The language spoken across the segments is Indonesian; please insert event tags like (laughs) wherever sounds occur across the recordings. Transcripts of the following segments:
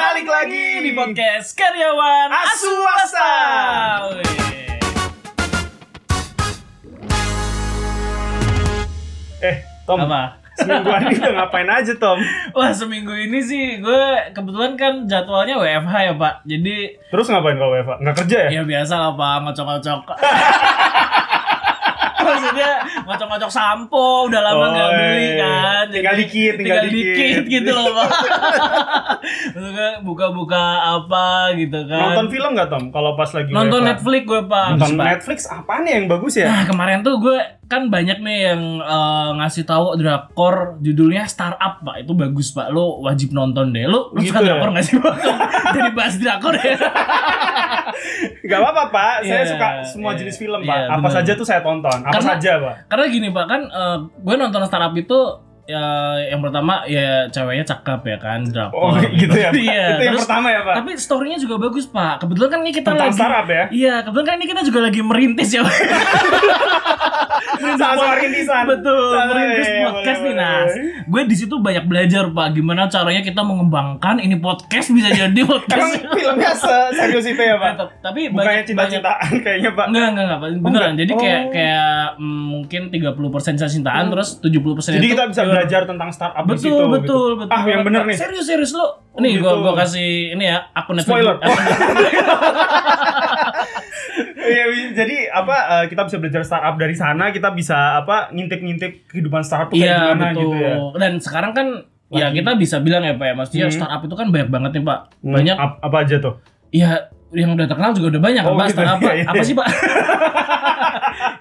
lagi di podcast karyawan Aswasta. Eh, Tom, Apa? semingguan ini udah ngapain aja, Tom? Wah seminggu ini sih gue kebetulan kan jadwalnya WFH ya pak Jadi Terus ngapain kalau Eva? Nggak kerja ya? ya biasa lah pak (laughs) ngocok-ngocok Maksudnya ngocok-ngocok sampo udah lama nggak Oh, beli iya. kan Tinggal dikit, tinggal dikit. gitu loh (laughs) pak Maksudnya Buka-buka apa gitu kan Nonton film nggak, Tom? Kalau pas lagi Nonton WFH? Netflix gue pak Nonton Pak. Netflix apaan ya yang bagus ya? (laughs) Nah kemarin tuh gue kan banyak nih yang eh, ngasih tahu drakor judulnya Startup pak itu bagus pak lo wajib nonton deh lo, lo Gitu suka ya? drakor nggak sih pak (laughs) jadi bahas drakor ya Gak apa-apa, Pak. Saya Iya, suka semua iya. jenis film, Pak. Iya, apa benar. saja tuh saya tonton. Apa Karena- saja, Pak. karena gini pak kan eh, gue nonton Startup itu ya yang pertama ya ceweknya cakep ya kan Oh, (laughs) drakor gitu ya, Pak. Iya, Itu yang terus- pertama ya, Pak. tapi story-nya juga bagus pak kebetulan kan ini kita Tentang lagi startup ya? (laughs) iya kebetulan kan ini kita juga lagi merintis ya pak Sama sama rintisan. Betul, Sama- merintis iya, podcast boleh, nih Nas. boleh. Gue di situ banyak belajar Pak, gimana caranya kita mengembangkan ini podcast bisa jadi Emang podcast. filmnya se- serius itu ya, Pak? Tetap, (laughs) Tapi Bukannya banyak banyak cinta-cintaan kayaknya, Pak. Enggak, enggak, enggak, beneran. enggak? Jadi kayak Oh. Hmm. kayak mm, mungkin 30% cinta-cintaan terus Jadi 70% itu kita bisa pure- belajar tentang startup di situ. Betul, gitu. betul, betul. Ah, yang bener nih. Serius, serius lu. Nih gitu. gua gua kasih ini ya, akun Netflix. Spoiler. (laughs) Akun- Iya, Wi. jadi apa eh, kita bisa belajar startup dari sana, kita bisa apa ngintip-ngintip kehidupan startup tuh kayak Iya gimana betul. gitu ya. Dan sekarang kan ya Lagi. kita bisa bilang ya Pak ya, maksudnya Hmm. startup itu kan banyak banget nih Pak. Banyak Ap- apa aja tuh? Iya, yang udah terkenal juga udah banyak. Oh, Pak, gitu. startup apa? Iya, iya. Apa (laughs) sih, Pak?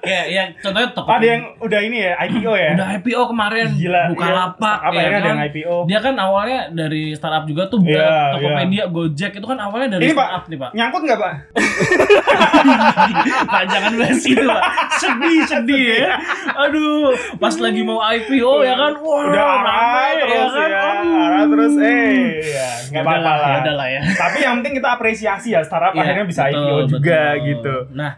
ya, ya contohnya Tokopedia. Ada yang udah ini ya, IPO ya. udah IPO kemarin, Gila. buka iya. lapak Apa ya, ada kan? yang IPO. Dia kan awalnya dari startup juga tuh Iya, Bel, Tokopedia, Gojek itu kan awalnya dari Ini, Pak. startup nih, Pak. (laughs) Nyangkut nggak pak? Pak jangan bahas itu, Pak. (laughs) Sedih, sedih ya. Aduh, pas lagi mau IPO ya kan, wah, udah arah ramai, terus ya, Aduh. arah terus, eh, ya, nggak apa-apa Udahlah, lah. ya udahlah ya. Tapi yang penting kita apresiasi ya startup Iya, akhirnya bisa betul, IPO juga betul. gitu. Nah,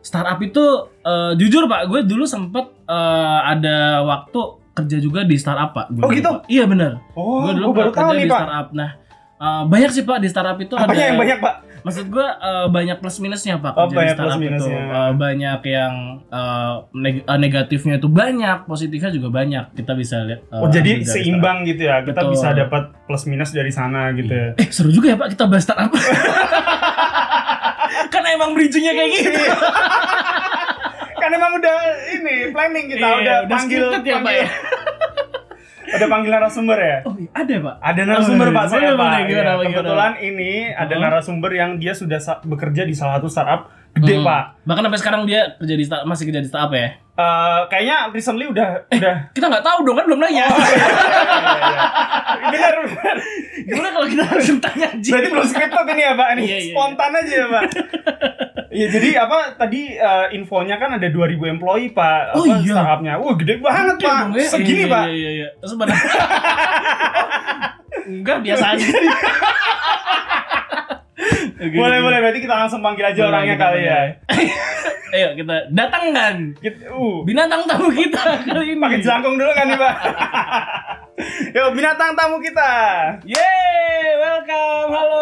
startup itu eh, jujur Pak, gue dulu sempet eh, ada waktu kerja juga di startup Pak. Gue Oh, dulu, gitu? Pak. Iya benar. Oh, gue dulu gua baru kerja tahu di nih pak. startup. Nah, eh, banyak sih Pak di startup itu ada Apanya yang banyak pak? maksud gue eh, banyak plus minusnya Pak Oh, kerja di banyak startup plus itu. minusnya. Eh, banyak yang eh, neg- eh, negatifnya itu banyak, positifnya juga banyak. Kita bisa lihat eh, Oh, jadi ambil dari startup. seimbang gitu ya. Kita Betul. bisa dapat plus minus dari sana gitu ya. Eh, seru juga ya Pak kita bahas startup. (laughs) Karena emang bridgingnya kayak (laughs) gitu. kan emang udah ini planning kita Iya, udah, udah panggil scripted ya, Pak, panggil- udah panggil narasumber ya Oh, iya, ada pak? ada narasumber Oh, pak boleh, saya boleh, pak gimana, Ya, Pak, gimana? kebetulan ini ada Hmm. narasumber yang dia sudah sa- bekerja di salah satu startup gede Hmm. pak Bahkan sampai sekarang dia kerja di startup, masih kerja di startup ya? Eh, kayaknya recently udah (laughs) udah Kita nggak tahu dong kan belum nanya. Oh. iya. benar benar (laughs) Gimana kalau kita langsung tanya aja? berarti belum scripted ini ya pak ini Iya, iya, iya. spontan aja ya pak Iya jadi apa tadi eh, infonya kan ada 2000 employee pak Oh, apa, iya. startupnya. Wah gede banget Oke, pak. dong, ya. Segini Iya, pak. Iya iya iya. Sebenarnya. (laughs) Enggak biasa (laughs) aja. Oke, Boleh oke. boleh berarti kita langsung panggil aja Boleh, orangnya kita kali ya. Ayo kita datangkan Gitu. Uh. binatang tamu (laughs) kita kali ini. pakai jelangkung dulu kan nih (laughs) pak yuk binatang tamu kita Yeay, welcome. Halo.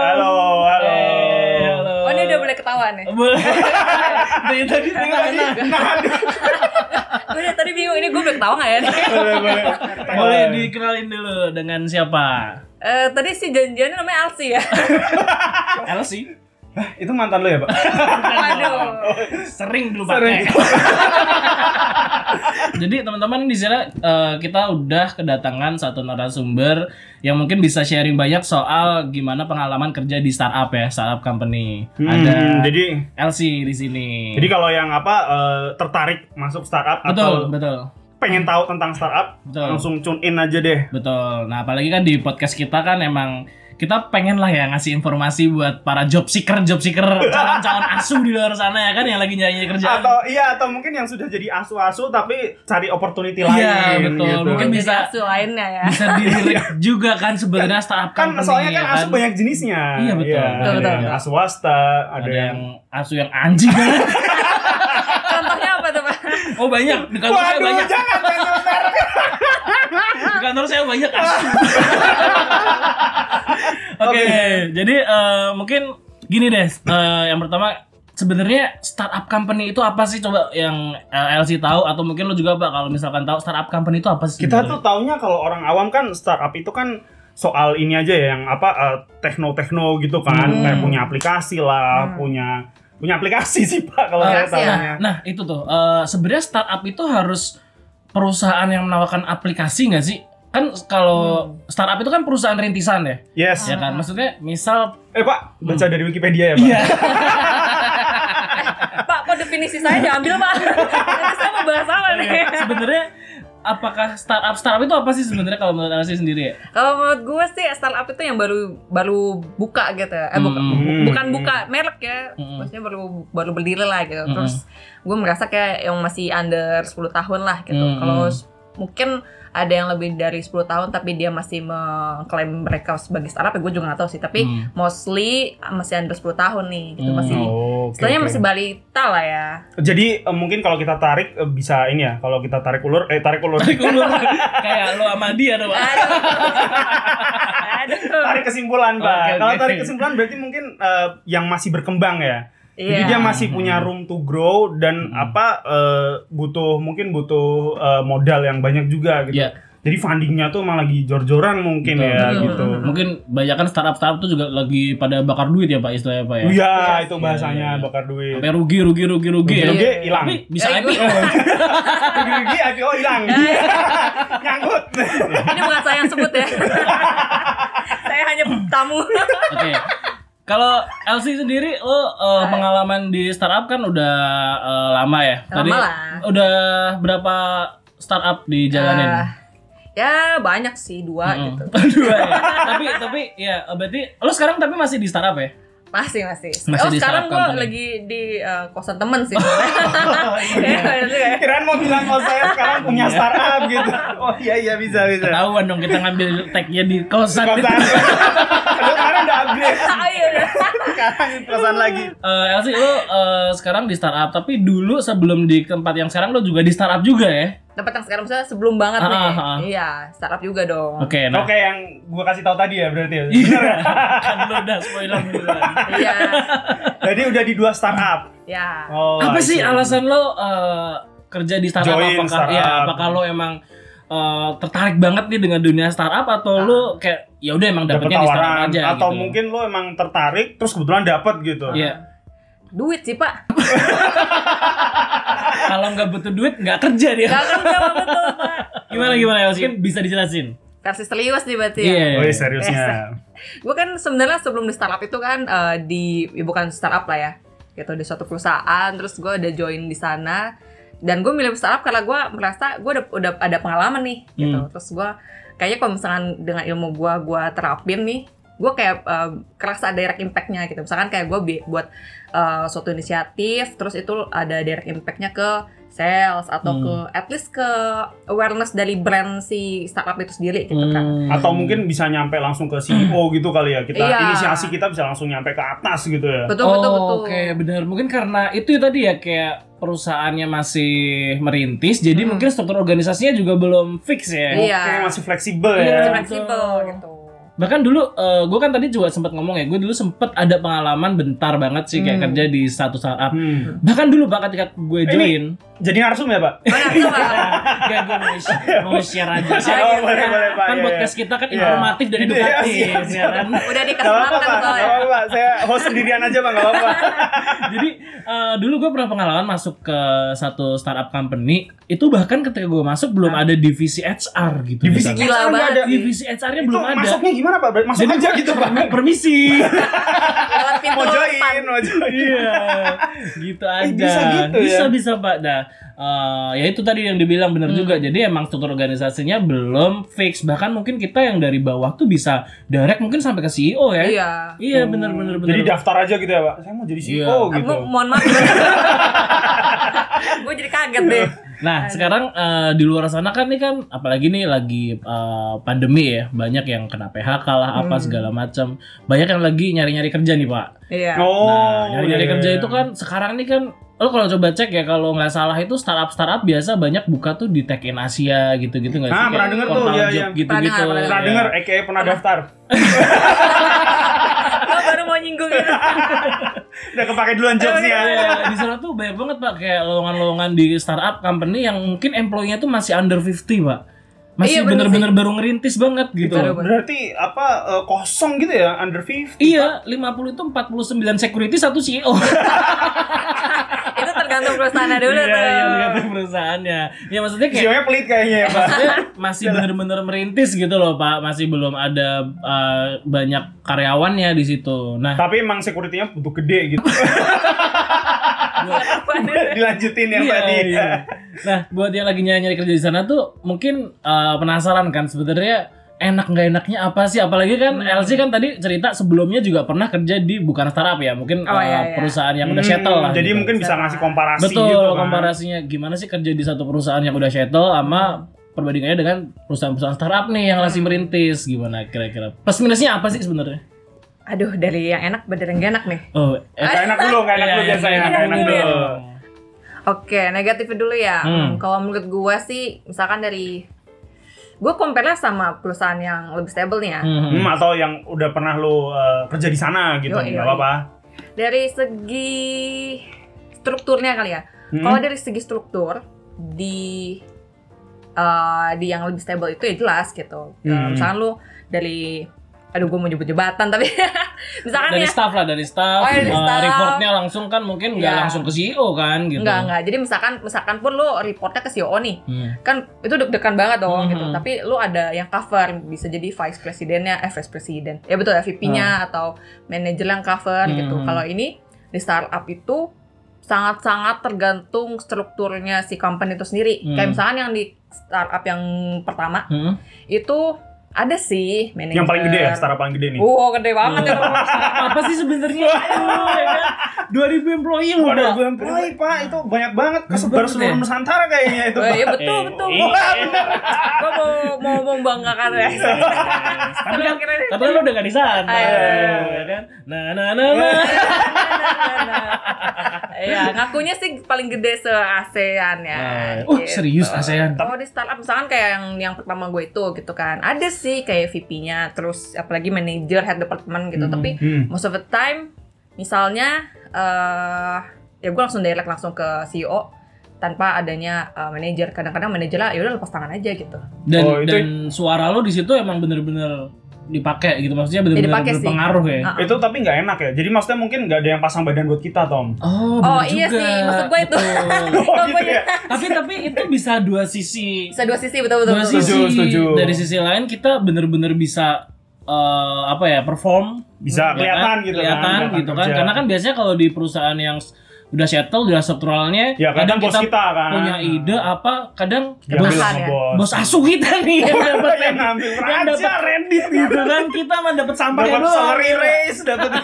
halo halo Eh, halo. Oh ini udah boleh ketahuan ya? (laughs) Boleh. Dari tadi Ini tadi, tangan. nah, Gue dari Oh, iya, tadi bingung, ini gue boleh ketawa gak ya? boleh (laughs) boleh Boleh dikenalin dulu dengan siapa? Eh, tadi si janjiannya namanya Alsi ya? Elsie. Hah, itu mantan lo ya pak (laughs) Waduh Sering dulu Sering. pakai. Jadi teman-teman di sini eh, kita udah kedatangan satu narasumber yang mungkin bisa sharing banyak soal gimana pengalaman kerja di startup ya, startup company. Ada Hmm, jadi Elsie di sini. jadi kalau yang apa eh, tertarik masuk startup atau betul, betul. pengen tahu tentang startup Betul. langsung tune in aja deh Betul. Nah, apalagi kan di podcast kita kan emang kita pengen lah ya ngasih informasi buat para job seeker, job seeker calon-calon asuh di luar sana ya kan yang lagi nyari kerjaan. atau iya atau mungkin yang sudah jadi asu-asu tapi cari opportunity lain Iya, betul. gitu. Mungkin Jadi bisa- asu lainnya ya bisa dilirik juga kan sebenarnya startup kan company, soalnya kan ya asu banyak jenisnya Iya, betul. Betul, ada betul, yang betul. asu swasta ada, ada yang yang asu yang (laughs) anjing banget. Contohnya apa tuh Pak? oh banyak di kantor saya Waduh, banyak jangan jangan jangan. (laughs) di kantor saya banyak asu (laughs) Oke, jadi eh, mungkin gini deh. eh, yang pertama sebenarnya startup company itu apa sih coba yang eh, LC tahu atau mungkin lo juga Pak kalau misalkan tahu startup company itu apa sih? Kita tuh sebenarnya? taunya kalau orang awam kan startup itu kan soal ini aja ya yang apa eh, tekno-tekno gitu kan Hmm. kayak punya aplikasi lah, Hmm. punya punya aplikasi (laughs) sih Pak kalau saya Aplikasi ya? tahunya. Nah, itu tuh eh, sebenarnya startup itu harus perusahaan yang menawarkan aplikasi nggak sih? Kan kalau startup itu kan perusahaan rintisan ya, Yes. ya kan? Hmm. Iya. Maksudnya (laughs) misal Eh Pak, baca dari Wikipedia ya, Pak. Pak, kok definisi saya diambil, Pak? Nanti saya mau bahas apa nih? (laughs) sebenarnya apakah startup startup itu apa sih sebenarnya kalau menurut LC sendiri (laughs) ya? Kalau menurut gue sih startup itu yang baru baru buka gitu. ya. Eh buka- Hmm. bu- bukan buka merek ya. Hmm. Maksudnya baru baru berdiri lah gitu. Hmm. Terus gue merasa kayak yang masih under 10 tahun lah gitu. Hmm. Kalau s- mungkin ada yang lebih dari 10 tahun tapi dia masih mengklaim mereka sebagai startup ya gue juga gak tahu sih. Tapi Hmm. mostly masih under 10 tahun nih gitu Hmm. masih. Oh, oke, Setelahnya oke. masih balita lah (laughs) ya. Jadi eh, mungkin kalau kita tarik eh, bisa ini ya, kalau kita tarik ulur eh tarik (laughs) ulur. Tarik ulur. kayak lo sama dia tuh. Pak. Aduh. Aduh. tarik kesimpulan, Pak. Oke, oke. Kalau tarik kesimpulan berarti mungkin eh, yang masih berkembang ya. Jadi dia Iya. masih punya room to grow dan apa eh, butuh mungkin butuh eh, modal yang banyak juga gitu. Iya. Jadi fundingnya tuh emang lagi jor-joran mungkin Betul, ya betul. gitu. Mungkin banyak kan startup startup tuh juga lagi pada bakar duit ya pak istilahnya pak ya. Iya, Iya, itu bahasanya bakar duit. Sampai rugi rugi rugi rugi. ya. Rugi Iya. hilang. Tapi bisa Eh, IPO. (laughs) Rugi IPO (laughs) hilang. Nyangkut. Ini bukan saya yang sebut ya. (laughs) saya hanya tamu. (laughs) Oke. Kalau LC sendiri lo eh, pengalaman di startup kan udah eh, lama ya. Lama lah. udah berapa startup dijalanin? Eh, ya banyak sih dua Mm. gitu. (laughs) Dua ya. tapi tapi ya berarti lo sekarang tapi masih di startup Iya. ya? Masih masih. Masih oh di sekarang startup gue company. Oh, lagi di eh, kosan temen sih. (laughs) Iya, bener ya. Kirain mau bilang kalau saya sekarang punya startup gitu. (laughs) Oh iya iya bisa bisa. Ketahuan dong kita ngambil tagnya di kosan. Kosan. (laughs) Lu kemarin udah upgrade. Ah, iya, udah. Sekarang kosan lagi. (laughs) Eh Elsie, lo eh, sekarang di startup, tapi dulu sebelum di tempat yang sekarang lo juga di startup juga ya? Tempat yang sekarang misalnya sebelum banget Ah, nih. ah, ah. Iya startup juga dong. Oke, nah. Oke yang gua kasih tahu tadi ya berarti ya. Iya, (laughs) kan lo udah spoiler duluan. Iya. Jadi udah di dua startup. Ya. (laughs) Oh, Apa I see. sih alasan lo eh, kerja di startup? Join apakah, startup. ya, apakah lo emang eh, tertarik banget nih dengan dunia startup atau lo kayak ya udah emang Dapet dapetnya di startup tawaran aja atau gitu? mungkin lo emang tertarik terus kebetulan dapet gitu. Iya. Duit sih pak. Kalau nggak butuh duit nggak kerja (laughs) dia. Gak akan jawab betul pak. Gimana gimana Elsie? Mungkin bisa dijelasin? Versi serius nih berarti. ya. Iya. Wih, seriusnya. gue kan sebenarnya sebelum di startup itu kan eh, di ya bukan startup lah ya gitu di suatu perusahaan terus gue ada join di sana dan gue milih startup karena gue merasa gue udah, udah ada pengalaman nih gitu Hmm. terus gue kayaknya kalau misalkan dengan ilmu gue gue terapin nih gue kayak eh, kerasa direct impactnya gitu misalkan kayak gue buat eh, suatu inisiatif terus itu ada direct impactnya ke sales atau Hmm. ke at least ke awareness dari brand si startup itu sendiri gitu kan Hmm. Atau mungkin bisa nyampe langsung ke CEO gitu kali ya. Kita Iya. inisiasi kita bisa langsung nyampe ke atas gitu ya. betul betul oh, betul Oke, benar. Mungkin karena itu tadi ya kayak perusahaannya masih merintis, jadi Hmm. mungkin struktur organisasinya juga belum fix ya. Iya. Oke, masih fleksibel Iya. ya. Masih fleksibel gitu. Bahkan dulu gue kan tadi juga sempat ngomong ya, gue dulu sempat ada pengalaman bentar banget sih kayak Hmm. kerja di satu startup. Hmm. Bahkan dulu pak ketika gue Ini- (laughs) join, Jadi narsum ya, Pak? Iya, Benar tuh, (laughs) Pak. ya gue mau share, mau share aja. Oh, boleh, boleh, Pak. kan Iya, podcast iya. kita kan Iya. informatif dan Iya, edukatif, siap, ya siap. kan? Udah Gak dikasih apa-apa, makan Pak. Gak soalnya. apa-apa, Pak. Saya host sendirian aja, Pak. Gak apa-apa. Jadi eh, dulu gue pernah pengalaman masuk ke satu startup company itu bahkan ketika gue masuk belum ada divisi HR gitu. Divisi misalnya. Gila HR nggak banget. ada. divisi HR-nya Itu belum ada. masuknya gimana, Pak? Masuk Jadi- aja gitu, Pak. (laughs) Permisi. Lewat pintu Mau depan. join, mau join. Iya, gitu aja. bisa gitu ya? bisa, bisa, pak. Nah, eh, ya itu tadi yang dibilang Hmm. benar juga. Jadi emang struktur organisasinya belum fix. Bahkan mungkin kita yang dari bawah tuh bisa direct mungkin sampai ke CEO ya. Iya. Iya, benar, benar, benar. Jadi daftar aja gitu ya, Pak. Saya mau jadi CEO Iya. gitu. Kamu mohon (laughs) maaf. Gue jadi kaget deh. Nah, sekarang eh, di luar sana kan nih kan apalagi nih lagi eh, pandemi ya, banyak yang kena PHK lah Hmm. apa segala macam. Banyak yang lagi nyari-nyari kerja nih, Pak. Iya. Oh, Nah, nyari-nyari iya, kerja iya. itu kan sekarang nih kan lo kalau coba cek ya kalau nggak salah itu startup startup biasa banyak buka tuh di Tech in Asia gitu-gitu nggak sih? Ah, Kayak pernah denger tuh, portal iya, job iya. gitu-gitu. Pernah dengar, pernah Pernah Iya. denger, EKE pernah daftar. menyinggung gitu. Udah kepake duluan jokesnya. Iya, di sana tuh banyak banget pak kayak lowongan-lowongan di startup company yang mungkin employee-nya tuh masih under 50 pak. Masih Iya, bener bener-bener baru ngerintis banget gitu. Betul, Pak. Berarti apa eh, kosong gitu ya under 50. Iya, 50 itu 49 security satu E CEO. itu tergantung perusahaan dulu Iya, tuh. iya, tergantung perusahaannya. Ya maksudnya kayak CEO-nya pelit kayaknya ya, Pak. maksudnya masih bener-bener merintis gitu loh pak. Masih belum ada uh, banyak karyawannya di situ. Nah, Tapi emang security-nya butuh gede gitu. (laughs) Apa dulu? Dilanjutin yang Iya, tadi. iya. (laughs) Nah, buat yang lagi nyari, nyari kerja di sana tuh mungkin eh, penasaran kan sebenarnya enak nggak enaknya apa sih? Apalagi kan LC kan tadi cerita sebelumnya juga pernah kerja di bukan startup ya, mungkin eh, Oh, iya, iya. perusahaan yang udah Hmm, settle lah. Jadi gitu. mungkin bisa ngasih komparasi betul gitu kan. komparasinya gimana sih kerja di satu perusahaan yang udah settle sama perbandingannya dengan perusahaan-perusahaan startup nih yang Hmm. masih merintis gimana kira-kira? Plus minusnya apa sih sebenarnya? Aduh, dari yang enak bener yang gak enak nih. Oh, eh, Gak enak dulu, gak enak Iya, dulu iya, biasanya, iya, gak enak iya. dulu. Oke, negatif dulu ya. Hmm. Hmm, Kalau menurut gue sih, misalkan dari gue compare lah sama perusahaan yang lebih stable nih ya. hmm. Hmm, atau yang udah pernah lu eh, kerja di sana gitu, Yoi, nggak yoi. apa-apa. Dari segi strukturnya kali ya. Hmm. Kalau dari segi struktur di eh, di yang lebih stable itu ya jelas gitu. Eh, Hmm. Misalkan lu dari aduh gue mau nyebut jabatan tapi (laughs) misalkan dari ya staff lah dari staff, Oh, dari Eh, staff. reportnya langsung kan mungkin nggak Iya. langsung ke CEO kan gitu enggak enggak. Jadi misalkan misalkan pun lu reportnya ke CEO nih. Hmm. kan itu deg-degan banget dong Mhm. gitu Mm-hmm. tapi lu ada yang cover bisa jadi vice presidennya eh vice presiden ya betul ya Mm. VP-nya atau manajer yang cover gitu Mm-hmm. Hmm. kalau ini di startup itu sangat-sangat tergantung strukturnya si company itu sendiri Mm. Hmm. kayak misalkan yang di startup yang pertama Hmm. itu ada sih manajer Yang paling eh, gede ya, startup Mm. paling gede nih. Wow, gede banget (laughs) ya. Bang. apa sih sebenarnya Aduh, ya kan? 2000 employee loh Waduh, Pak. gue employee, Pak. Itu banyak banget. Kesebar banget seluruh ya. Nusantara kayaknya itu, Oh, Pak. iya betul, betul. Iya. Wah, bener. Gue mau mau membanggakan (laughs) ya. tapi kan Akhirnya- tapi kan lo udah gak di sana Ayo. ya kan nah nah nah, nah. (laughs) Iya, ngakunya sih paling gede se ASEAN ya. uh gitu. serius ASEAN Kalau di startup misalkan kayak yang yang pertama gue itu gitu kan, ada sih kayak VP-nya, terus apalagi manager, head department gitu. Hmm. Tapi Hmm. most of the time, misalnya eh ya gue langsung direct langsung ke CEO tanpa adanya eh, manager. Kadang-kadang manajer lah, ya udah lepas tangan aja gitu. dan Oh, itu- dan suara lo di situ emang bener-bener dipakai gitu maksudnya bener-bener dipakai sih. berpengaruh ya Ah. (laughs) Itu tapi nggak enak ya. Jadi maksudnya mungkin nggak ada yang pasang badan buat kita, Tom. Oh, Oh, bener iya juga. sih, maksud gue itu. (laughs) Betul. Oh, gitu ya. tapi tapi itu bisa dua sisi iya. Bisa dua sisi betul-betul. dua betul. sisi Setuju, setuju. dari sisi lain kita bener-bener bisa eh, apa ya perform Bisa ya kelihatan kan? gitu kelihatan kan. gitu kan kerja. karena kan biasanya kalau di perusahaan yang s- udah settle udah strukturalnya ya kadang bos kita kan punya ide apa kadang Ya, bos bilang Makan sama ya. bos. Oh, iya. bos asuh kita nih yang dapat yang ngambil (laughs) yang raja dapat- Reddit (laughs) gitu. gitu kan kita mah dapat sampah dapat doang. salary raise dapat (laughs)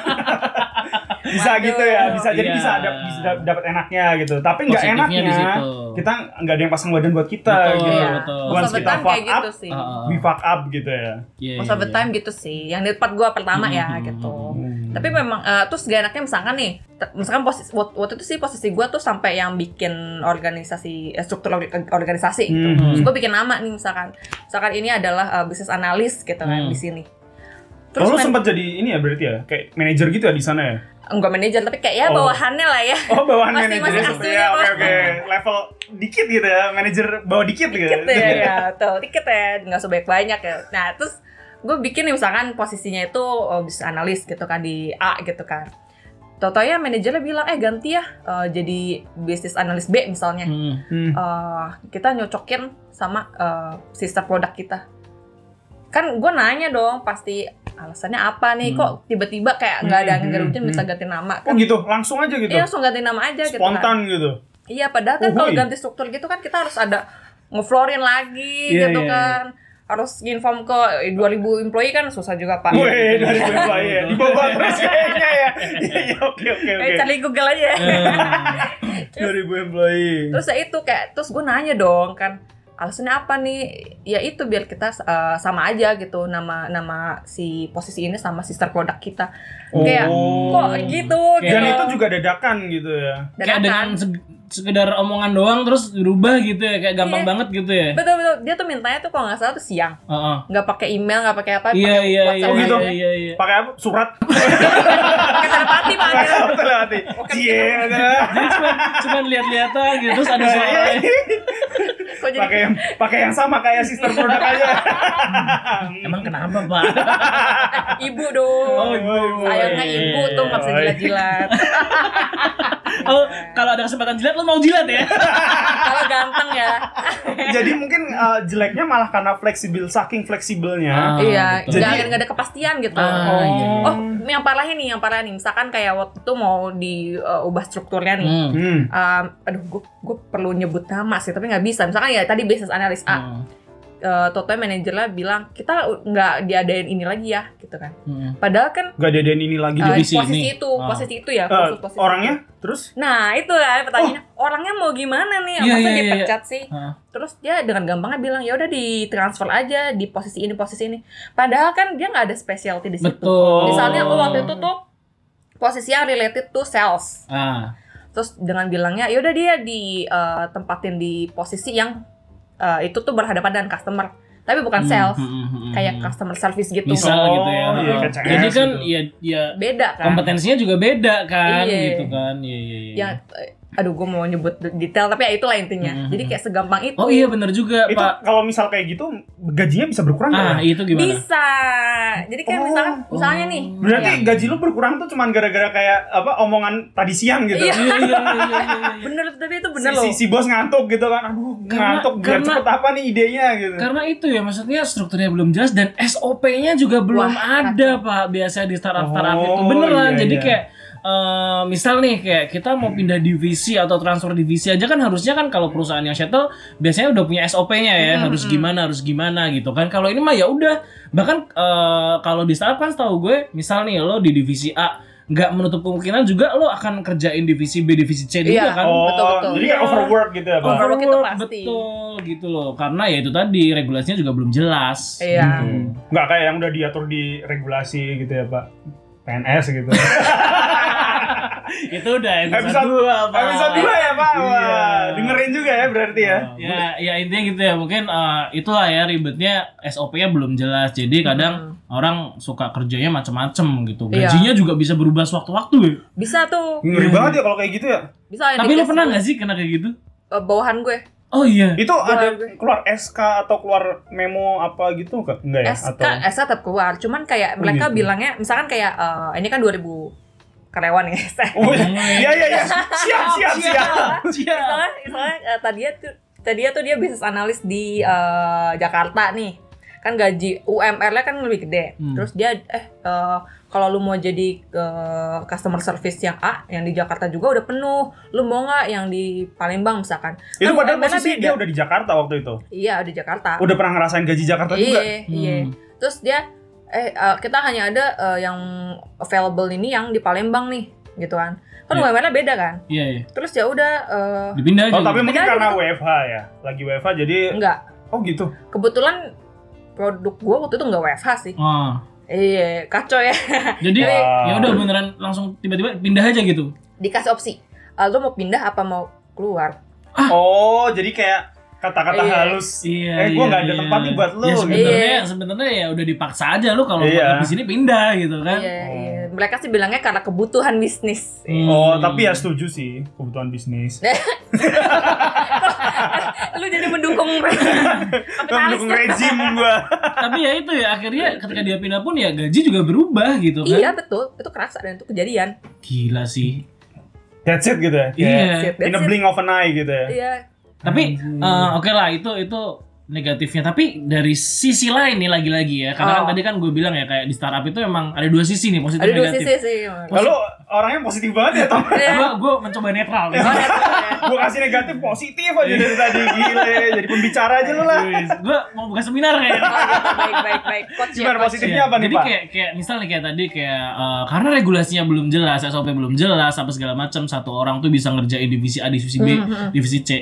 bisa Waduh. gitu ya bisa jadi Iya. bisa ada bisa dapat enaknya gitu tapi nggak Positifnya di enaknya situ. kita nggak ada yang pasang badan buat kita Betul, gitu Iya. betul. Most once of the kita time fuck kayak up gitu sih. Ah, ah. we fuck up gitu ya Iya, Most iya, of the iya. time gitu sih. Yang di tempat gua pertama ya Hmm. gitu. Hmm. Tapi memang eh, terus gak enaknya misalkan nih, te- misalkan posisi wak- waktu itu sih posisi gua tuh sampai yang bikin organisasi eh, struktur or- organisasi gitu. Hmm. Terus gua bikin nama nih misalkan. Misalkan ini adalah eh, bisnis analis gitu Hmm. kan di sini. Terus Terus men- sempat jadi ini ya berarti ya kayak manajer gitu ya di sana ya enggak manajer tapi kayak ya Oh. bawahannya lah ya. oh bawahan Masih- manajer masih gitu asuhnya ya kok. oke oke level dikit gitu ya manajer bawah dikit gitu dikit ya, ya tuh dikit ya nggak sebanyak banyak ya nah terus gue bikin nih misalkan posisinya itu oh, bisnis analis gitu kan di A gitu kan Totonya manajernya bilang eh ganti ya eh, jadi bisnis analis B misalnya (laughs) Hmm. Hmm. Eh, kita nyocokin sama eh, sister produk kita kan gue nanya dong pasti alasannya apa nih Hmm. kok tiba-tiba kayak nggak ada Hmm, angin nggak ada hmm, hujan hmm. minta ganti nama oh kan gitu langsung aja gitu iya, langsung ganti nama aja gitu kan spontan gitu Iya, padahal kan kalau Uhuy. ganti struktur gitu kan kita harus ada ngeflorin lagi Iya, gitu iya, kan. Harus inform ke eh, 2000 employee kan susah juga Pak. Iya, Wih, dari bawah ya, di bawah terus kayaknya ya. Iya, iya, oke oke Eh, oke. cari Google aja. Eh, 2000 employee. terus ya itu kayak terus gue nanya dong kan alasannya apa nih ya itu biar kita eh, sama aja gitu nama nama si posisi ini sama sister produk kita kayak Oh. kok gitu Oh. Kayak- Dan gitu. itu juga dadakan gitu ya. Kayak Dadakan. dengan seg- sekedar omongan doang terus berubah gitu ya kayak gampang Iya. banget gitu ya. betul betul dia tuh mintanya tuh kalau nggak salah tuh siang Heeh. nggak pakai email nggak pakai apa Iya pakai iya iya. WhatsApp Oh, gitu? aja. Iya iya. Pakai apa? Surat. (laughs) pakai Oh, kan telepati (laughs) pak Telewati. gitu. Cie. Jadi cuman cuman lihat-lihatan gitu terus Iya, ada suara. kok jadi Pakai yang pakai yang sama kayak sister produk aja. Emang kenapa, Pak? (laughs) (laughs) ibu dong iya, Oh, ibu. sayangnya ibu tuh nggak bisa Oi. (laughs) jilat-jilat Oh, kalau ada kesempatan jilat lo mau jilat ya? kalau ganteng ya Jadi mungkin eh, jeleknya malah karena fleksibel saking fleksibelnya. Ah, iya betul. nggak Jadi- nggak ada kepastian gitu Ah, oh. iya, iya. Oh, ini yang parah nih, yang parah nih. Misalkan kayak waktu itu mau diubah strukturnya nih. Hmm. Hmm. Um, aduh, gue perlu nyebut nama sih, tapi nggak bisa. Misalkan ya tadi bisnis analis A, Hmm. eh totoy manajernya bilang kita u- nggak diadain ini lagi ya, gitu kan. Hmm. Padahal kan Gak diadain ini lagi. eh, Jadi divisi posisi ini. itu, Ah. posisi itu ya, eh, posisi, posisi itu. orangnya terus Nah itu kan pertanyaannya, orangnya mau gimana nih? Oh. Iya, Masa iya, iya, dipecat sih? Ah. Terus dia dengan gampangnya bilang ya udah ditransfer aja di posisi ini posisi ini. Padahal kan dia nggak ada specialty di situ. Betul. Misalnya oh waktu itu tuh posisi yang related to sales. Ah. Terus dengan bilangnya ya udah dia di eh, tempatin di posisi yang eh, itu tuh berhadapan dengan customer, tapi bukan Hmm, sales. hmm, hmm, hmm, Kayak hmm. customer service gitu. misal Oh, gitu ya. iya, Ah. kayak CS Jadi kan gitu. ya ya Beda kan? kompetensinya juga beda kan Iya. gitu kan. Iya iya iya. Ya eh, aduh gue mau nyebut detail tapi ya itulah intinya. Hmm, Jadi kayak segampang itu. Oh iya bener juga, itu Pak. kalau misal kayak gitu gajinya bisa berkurang nggak Ah, ya? itu gimana? Bisa. Jadi kayak Oh. misalkan misalnya Oh. nih. Berarti gitu. ya, gaji lu berkurang tuh cuman gara-gara kayak apa omongan tadi siang gitu. Iya. Iya iya iya iya. bener tapi itu Si, bener loh. si, si bos ngantuk gitu kan. Aduh, Karena- ngantuk biar karena- cepet apa nih idenya gitu. Karena itu ya maksudnya strukturnya belum jelas dan SOP-nya juga belum Wah, ada Pak biasanya di startup startup Oh, itu beneran iya, jadi iya. Hmm. kayak eh, misal nih kayak kita mau pindah divisi atau transfer divisi aja kan harusnya kan kalau perusahaan yang shuttle biasanya udah punya SOP-nya ya Hmm, harus gimana harus gimana gitu kan kalau ini mah ya udah bahkan eh, kalau di startup kan tahu gue misal nih lo di divisi A nggak menutup kemungkinan juga lo akan kerjain divisi B divisi C juga Iya. kan oh, betul, betul. jadi kayak Iya. overwork gitu ya, Pak. Over- Overwork itu pasti. betul gitu loh karena ya itu tadi regulasinya juga belum jelas Iya. Hmm. gitu. Nggak kayak yang udah diatur di regulasi gitu ya, Pak. PNS gitu. (laughs) itu udah episode Episode- dua Pak. Episode 2 ya, Pak. Wah, Iya. dengerin juga ya berarti ya. ya ya intinya gitu ya mungkin eh, itulah ya ribetnya SOP-nya belum jelas jadi kadang orang suka kerjanya macem-macem gitu Mm-hmm. Iya. gajinya juga bisa berubah sewaktu-waktu ya Bisa tuh. Ngeri banget ya kalau kayak gitu ya. Bisa yang tapi di- lo pernah nggak sih kena kayak gitu eh, bawahan gue. oh (laughs) iya Itu Wah, ada gue- keluar SK atau keluar memo apa gitu nggak? Enggak ya? SK, atau SK kan, tetap keluar. Cuman kayak Oh, mereka gitu. bilangnya misalkan kayak eh, ini kan 2000 karyawan ya. (laughs) Oh, iya iya iya. Siap siap siap. Iya. misalnya misalnya eh, tadinya tuh tadinya tuh dia bisnis analis di eh, Jakarta nih. Kan gaji UMR-nya kan lebih gede. Hmm. Terus dia eh eh, kalau lu mau jadi eh, customer service yang A yang di Jakarta juga udah penuh. Lu mau nggak yang di Palembang misalkan? Itu Kan padahal UMR-nya posisi beda. dia udah di Jakarta waktu itu. Iya, di Jakarta. Udah pernah ngerasain gaji Jakarta juga. Hmm. Iya, iya. Terus dia eh uh, kita hanya ada uh, yang available ini yang di Palembang nih, gitu kan. Kan Iya. UMR-nya beda kan. iya iya Terus ya udah uh, dipindah aja Oh, tapi gitu. mungkin Beda karena WFH ya. Lagi WFH jadi enggak. oh gitu. Kebetulan produk gua waktu itu enggak WFH sih. Ah. Iya, kacau ya. jadi Wah. ya udah beneran langsung tiba-tiba pindah aja gitu (laughs) Dikasih opsi. Uh, lu mau pindah apa mau keluar? Oh, jadi kayak kata-kata Iya. halus. Ah. Iya. Eh, gua nggak ada tempat nih buat lu, Ya, gitu. sebenarnya Iya. sebenarnya ya udah dipaksa aja lu kalau Iya. mau di sini pindah gitu kan. Iya, Oh. iya. Mereka sih bilangnya karena kebutuhan bisnis. Hmm. Oh, tapi ya setuju sih kebutuhan bisnis. lu jadi mendukung kapitalis. Mendukung rezim gua. Tapi ya itu ya akhirnya ketika dia pindah pun ya gaji juga berubah gitu kan. Iya, betul. Itu kerasa dan itu kejadian. Gila sih. (laughs) That's it gitu ya. Kayak Iya. That's it, In a that's it. blink of an eye gitu ya. Iya. Tapi Anjing. eh, oke lah itu itu negatifnya tapi dari sisi lain nih lagi-lagi ya karena kan Oh. tadi kan gue bilang ya kayak di startup itu emang ada dua sisi nih positif Ada dua negatif sisi sih. Lalu orangnya positif banget ya, Tom. Iya. gue gue mencoba netral (laughs) nih. Oh, that's it, ya. Gua kasih negatif positif aja dari tadi gile. Jadi pembicara aja lu lah. gue mau buka seminar kayaknya Oh, gitu. baik baik baik coach ya, Gimana coach. positifnya Iya, apa nih, jadi Pak? kayak kayak misal nih kayak tadi kayak eh, karena regulasinya belum jelas, SOP belum jelas, apa segala macam, satu orang tuh bisa ngerjain divisi A, divisi B, divisi C.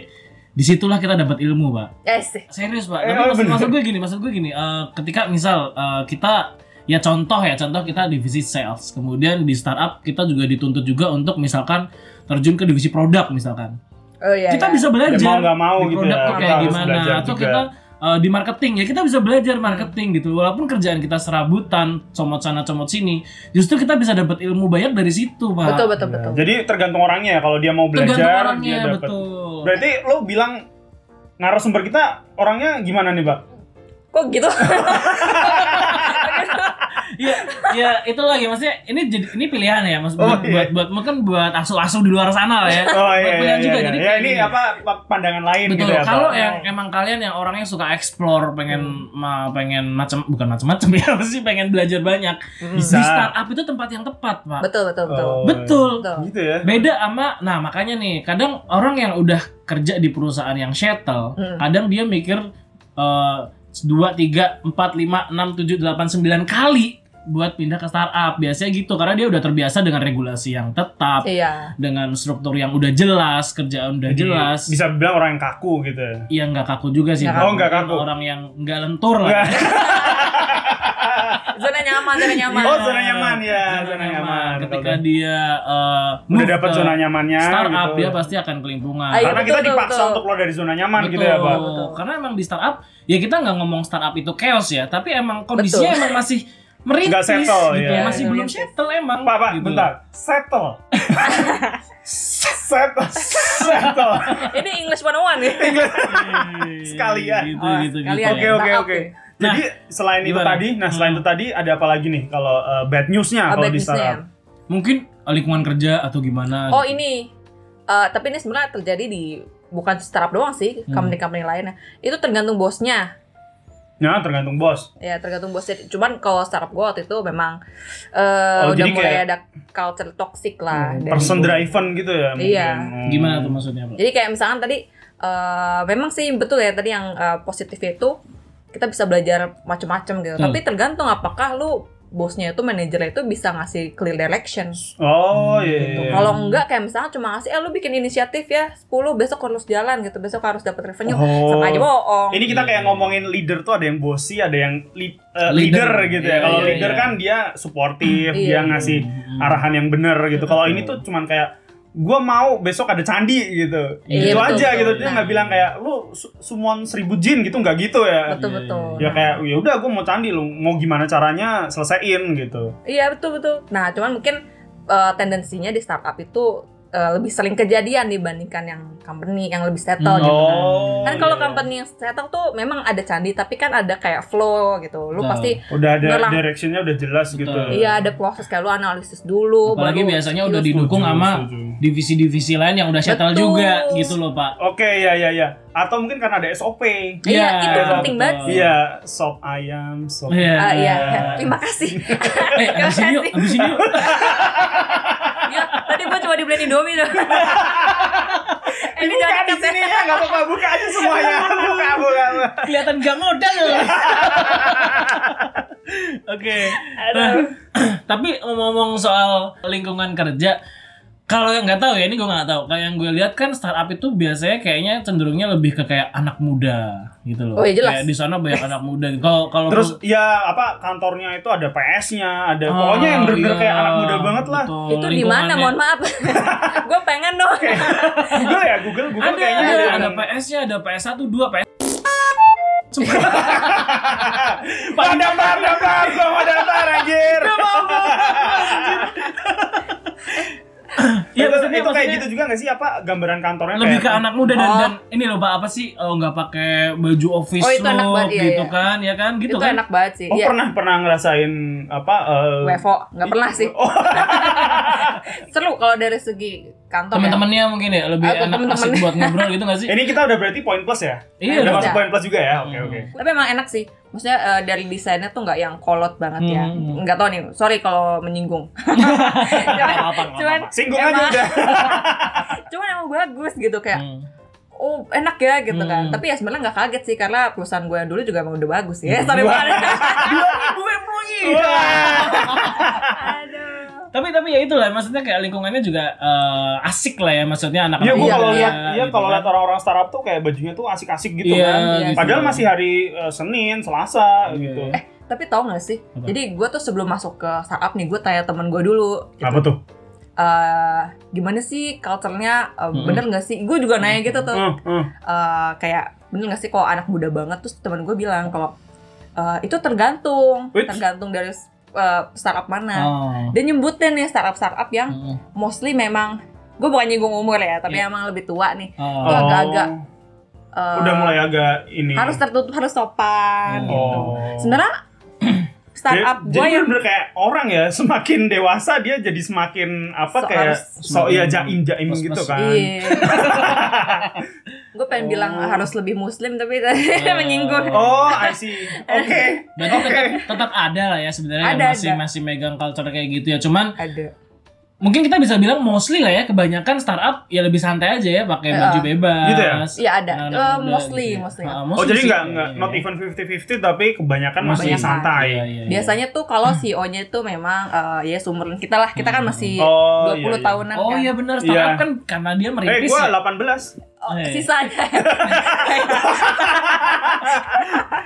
disitulah kita dapat ilmu pak Yes. serius pak Eh, tapi oh, maksud, bener. maksud gue gini maksud gue gini eh, ketika misal eh, kita ya contoh ya contoh kita divisi sales kemudian di startup kita juga dituntut juga untuk misalkan terjun ke divisi produk misalkan Oh iya. kita iya. bisa belajar Ya, mau nggak mau di gitu produk ya, tuh kita kayak harus gimana belajar atau juga. kita uh, di marketing ya kita bisa belajar marketing gitu walaupun kerjaan kita serabutan comot sana comot sini justru kita bisa dapat ilmu banyak dari situ pak Betul betul betul. Jadi tergantung orangnya ya. Kalau dia mau belajar, tergantung dia orangnya dapat. betul Berarti lo bilang narasumber kita orangnya gimana nih, (laughs) Pak? Kok gitu? Iya, ya itu lagi maksudnya ini jadi ini pilihan ya mas Oh, buat, iya. buat buat mungkin buat asu-asu di luar sana lah ya. Oh iya, Buat iya, pilihan iya, juga iya. jadi Ya, kayak ini gini. apa pa- pandangan lain Betul. gitu ya, Kalau Pak? yang emang kalian yang orangnya suka explore, pengen ma- pengen macam bukan macam-macam ya (laughs) apa sih pengen belajar banyak. Bisa. Di startup itu tempat yang tepat, Pak. (laughs) betul betul betul. Oh, Betul. Betul. Gitu ya. Beda sama nah makanya nih, kadang orang yang udah kerja di perusahaan yang shuttle, Hmm. kadang dia mikir eh, 2 3 4 5 6 7 8 9 kali buat pindah ke startup. Biasanya gitu karena dia udah terbiasa dengan regulasi yang tetap, Iya. dengan struktur yang udah jelas, kerjaan udah Jadi, jelas. Bisa bilang orang yang kaku gitu ya. Iya nggak kaku juga sih. Nggak Pak. kaku. Oh, nggak kaku. Orang yang nggak lentur lah. Nggak. Zona nyaman, zona nyaman. Oh, zona nyaman ya, zona, nyaman. Ketika Kalau- dia eh, udah move dapat ke zona nyamannya startup ya, gitu. dia pasti akan kelimpungan. Ayo, Karena kita Betul, dipaksa betul. untuk keluar dari zona nyaman Betul. gitu ya, Pak. Betul. Karena emang di startup ya kita nggak ngomong startup itu chaos ya, tapi emang kondisinya Betul. emang masih merintis Nggak settle, gitu, ya. masih Iya, belum merintis. settle emang. Pak, Pak, gitu. bentar. (laughs) Settle. settle. Settle. Ini English 101 ya. (laughs) Sekalian. Gitu, Oh, gitu, gitu. sekalian. Oke, Iya. oke, Nah, oke. oke. Jadi selain itu gimana? tadi, nah selain Hmm. itu tadi ada apa lagi nih kalau uh, bad news-nya Oh, kalau bad di newsnya ya. startup? Mungkin lingkungan kerja atau gimana? Oh gitu. ini, Eh, tapi ini sebenarnya terjadi di bukan startup doang sih, Hmm. company-company lainnya. Itu tergantung bosnya, Nah, tergantung bos. ya tergantung bosnya. Cuman kalau startup gue waktu itu memang Oh, eh, udah jadi mulai kayak- Hmm, ada culture toxic lah. dari- Person driven gitu ya mungkin. Iya. Hmm. Gimana tuh maksudnya? Pak? Jadi kayak misalkan tadi, eh, memang sih betul ya tadi yang eh, positif itu kita bisa belajar macam-macam Hmm. gitu. Betul. Tapi tergantung apakah lu bosnya itu manajernya itu bisa ngasih clear direction. Oh, Hmm, iya. gitu. iya. Kalau enggak kayak misalnya cuma ngasih, eh lu bikin inisiatif ya, 10 besok harus jalan gitu, besok harus dapat revenue. Oh. Sama aja bohong. Ini kita kayak ngomongin leader tuh ada yang bossy, ada yang li- eh, leader. Leader. gitu Iya, ya. Kalau iya, leader iya. kan dia suportif, Iya. dia ngasih Hmm. arahan yang benar gitu. Kalau ini tuh cuman kayak gua mau besok ada candi gitu. itu Iya, betul, aja betul. gitu. Dia Nah. nggak bilang kayak lu su- summon seribu jin gitu nggak gitu ya. betul betul. Ya Iya, kayak ya udah gua mau candi lu mau gimana caranya selesaiin gitu. Iya betul betul. Nah cuman mungkin eh, tendensinya di startup itu eh, lebih sering kejadian dibandingkan yang company yang lebih settle Hmm. gitu. Oh. Kan iya. kalau company yang settle tuh memang ada candi tapi kan ada kayak flow gitu. Lu Betul. pasti udah ada Ngelang. directionnya udah jelas Betul. gitu. iya ada proses kayak lu analisis dulu. Apalagi baru biasanya udah execute. Setuju, didukung sama setuju. divisi-divisi lain yang udah settle Betul. juga gitu loh pak. Oke, ya ya ya. Atau mungkin karena ada SOP. Iya, Iya, itu penting betul. banget sih. Iya, sop ayam, sop Iya. Ah, iya, terima (laughs) kasih. (laughs) Eh, abis ini yuk, abis ini yuk. ya, tadi gua cuma dibeliin Indomie (laughs) tuh. Ini Buka jangan di kasih. (laughs) sini ya, nggak apa-apa buka aja semuanya. Buka, buka. buka. Kelihatan gak modal. (laughs) Oke. Nah, (clears throat) tapi ngomong soal lingkungan kerja, kalau yang nggak tahu ya ini gue nggak tahu. Kayak yang gue lihat kan startup itu biasanya kayaknya cenderungnya lebih ke kayak anak muda gitu loh. Oh, iya, jelas. Kayak di sana banyak anak muda. gitu. Kalau kalau Terus ya apa kantornya itu ada PS-nya, ada pokoknya yang bener-bener iya, kayak anak muda banget lah. betul. Itu di mana? Lingkungannya- Mohon (laughs) maaf. gua pengen dong. Google ya, Google, Google ada, kayaknya ada, ada. ada PS-nya, ada PS1, 2 (laughs) PS. Iya, Pada bar, pada bar, belum ada bar anjir. Iya, Iya, Ya, maksudnya- itu kayak maksudnya- gitu juga nggak sih apa gambaran kantornya lebih ke kayak- anak muda dan, Oh. dan ini loh Pak apa sih oh, nggak pakai baju office Oh, itu enak look banget, iya, gitu iya. kan ya kan gitu itu kan enak banget sih. Oh, Iya. pernah pernah ngerasain apa eh, WFO nggak pernah sih. Oh. Seru kalau dari segi kantor. teman-temannya mungkin ya lebih Atau enak temen-temen. asik buat ngobrol gitu nggak sih Ini kita udah berarti poin plus ya? Udah Iya, udah. masuk poin plus juga ya. Oke, Hmm. oke. ya. Tapi emang enak sih. Maksudnya eh, dari desainnya tuh nggak yang kolot banget ya. Hmm. Nggak tahu nih. Sorry kalau menyinggung. cuman, Nggak apa-apa, nggak cuman, Singgung aja Emang. udah. (laughs) cuman emang bagus gitu kayak. Hmm. Oh enak ya gitu Hmm. kan. Tapi ya sebenarnya nggak kaget sih karena perusahaan gue yang dulu juga emang udah bagus (laughs) ya. Sorry Wah. banget. Dua ribu employee. Wah. Aduh. tapi tapi ya itulah maksudnya kayak lingkungannya juga eh, asik lah ya maksudnya Iya, anak-anak. gue Iya, kalau muda, lihat, iya gitu kalau kan. lihat orang-orang startup tuh kayak bajunya tuh asik-asik gitu Iya, kan. gitu. Padahal masih hari eh, Senin, Selasa Iya. gitu. Eh, tapi tau gak sih? Apa? Jadi gue tuh sebelum masuk ke startup nih, gue tanya temen gue dulu. gitu. Apa tuh? Eh, gimana sih culture-nya? Eh, Mm-mm. Bener gak sih? Gue juga nanya gitu tuh. Hmm, hmm. Eh, kayak bener gak sih kalau anak muda banget? Terus temen gue bilang kalau eh, itu tergantung, Which? tergantung dari eh, startup mana. Oh. Hmm. Dia nyebutin nih startup-startup yang Heeh. mostly memang gue bukan nyinggung umur ya, tapi Iya. emang lebih tua nih. Oh. Itu agak-agak, Eh, Oh, Udah mulai agak ini. harus tertutup, harus sopan. Oh. gitu. Sebenarnya startup Jadi- gue jadi yang bener kayak orang ya semakin dewasa dia jadi semakin apa So- kayak harus- so ya jaim jaim Mas- gitu mas- kan. (laughs) Iya. gue pengen Oh. bilang harus lebih muslim tapi tadi Oh. (laughs) menyinggung. Oh, I see. Oke. Berarti Oke. tetap, tetap ada lah ya sebenarnya yang Ada, masih ada. masih megang culture kayak gitu ya. Cuman Ada. mungkin kita bisa bilang mostly lah ya kebanyakan startup ya lebih santai aja ya pakai Iya. baju bebas. Gitu ya? Iya ada. anak-anak Eh, muda mostly, gitu ya. mostly. Ah, Oh, jadi sih, nggak iya, nggak iya, not iya. even 50-50 tapi kebanyakan masih Kebanyakan. Iya, santai. iya, iya. Biasanya tuh kalau CEO-nya itu memang eh, ya sumur kita lah. Kita kan masih Oh, iya, 20 iya. tahunan Oh kan. Hmm. iya benar startup Iya. kan karena dia Eh, merintis. gua ya. 18. Oh, Iya, iya. (laughs) sisanya.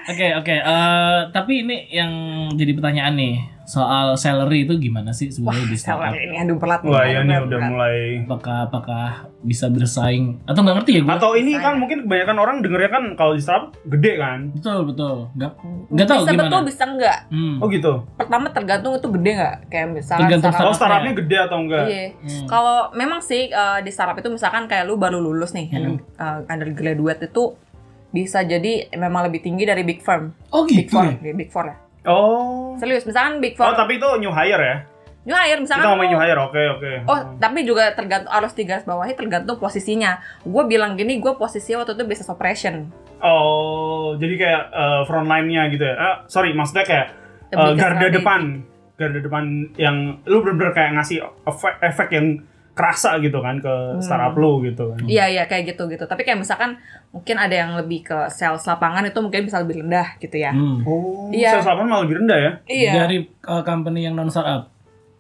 Oke oke. Eh, tapi ini yang jadi pertanyaan nih soal salary itu gimana sih sebenarnya di startup? Salary ini aduh berat. nih, Wah, aduh, iya ya nih berat, udah berat. mulai. Apakah apakah bisa bersaing atau nggak ngerti ya gue? Atau ini Santai. kan mungkin kebanyakan orang dengernya kan kalau di startup gede kan. Betul betul. Nggak nggak tahu bisa gimana. betul bisa enggak. Hmm. Oh gitu. Pertama tergantung itu gede enggak kayak misalnya Tergantung Oh, startup. startupnya gede atau enggak? Iya. Hmm. Kalau memang sih eh, di startup itu misalkan kayak lu baru lulus nih Hmm. under- eh, undergraduate itu bisa jadi memang lebih tinggi dari big firm. Oh Big gitu. four, ya? ya, big four ya. Oh. Serius, misalkan big Oh, four. tapi itu new hire ya. New hire misalkan. Kita ngomongin lu- new hire. Oke, oke. Oh, tapi juga tergantung harus tiga bawahi tergantung posisinya. Gue bilang gini, gue posisinya waktu itu business operation. Oh, jadi kayak eh, frontline-nya gitu ya. Eh, sorry, maksudnya kayak eh, Lebih ke garda strategi. depan. Garda depan yang lu bener-bener kayak ngasih efek, efek yang kerasa gitu kan ke startup lu gitu kan. Hmm. Iya iya kayak gitu gitu. Tapi kayak misalkan mungkin ada yang lebih ke sales lapangan itu mungkin bisa lebih rendah gitu ya. Hmm. Oh, Iya. sales lapangan malah lebih rendah ya. Iya. Dari uh, company yang non startup.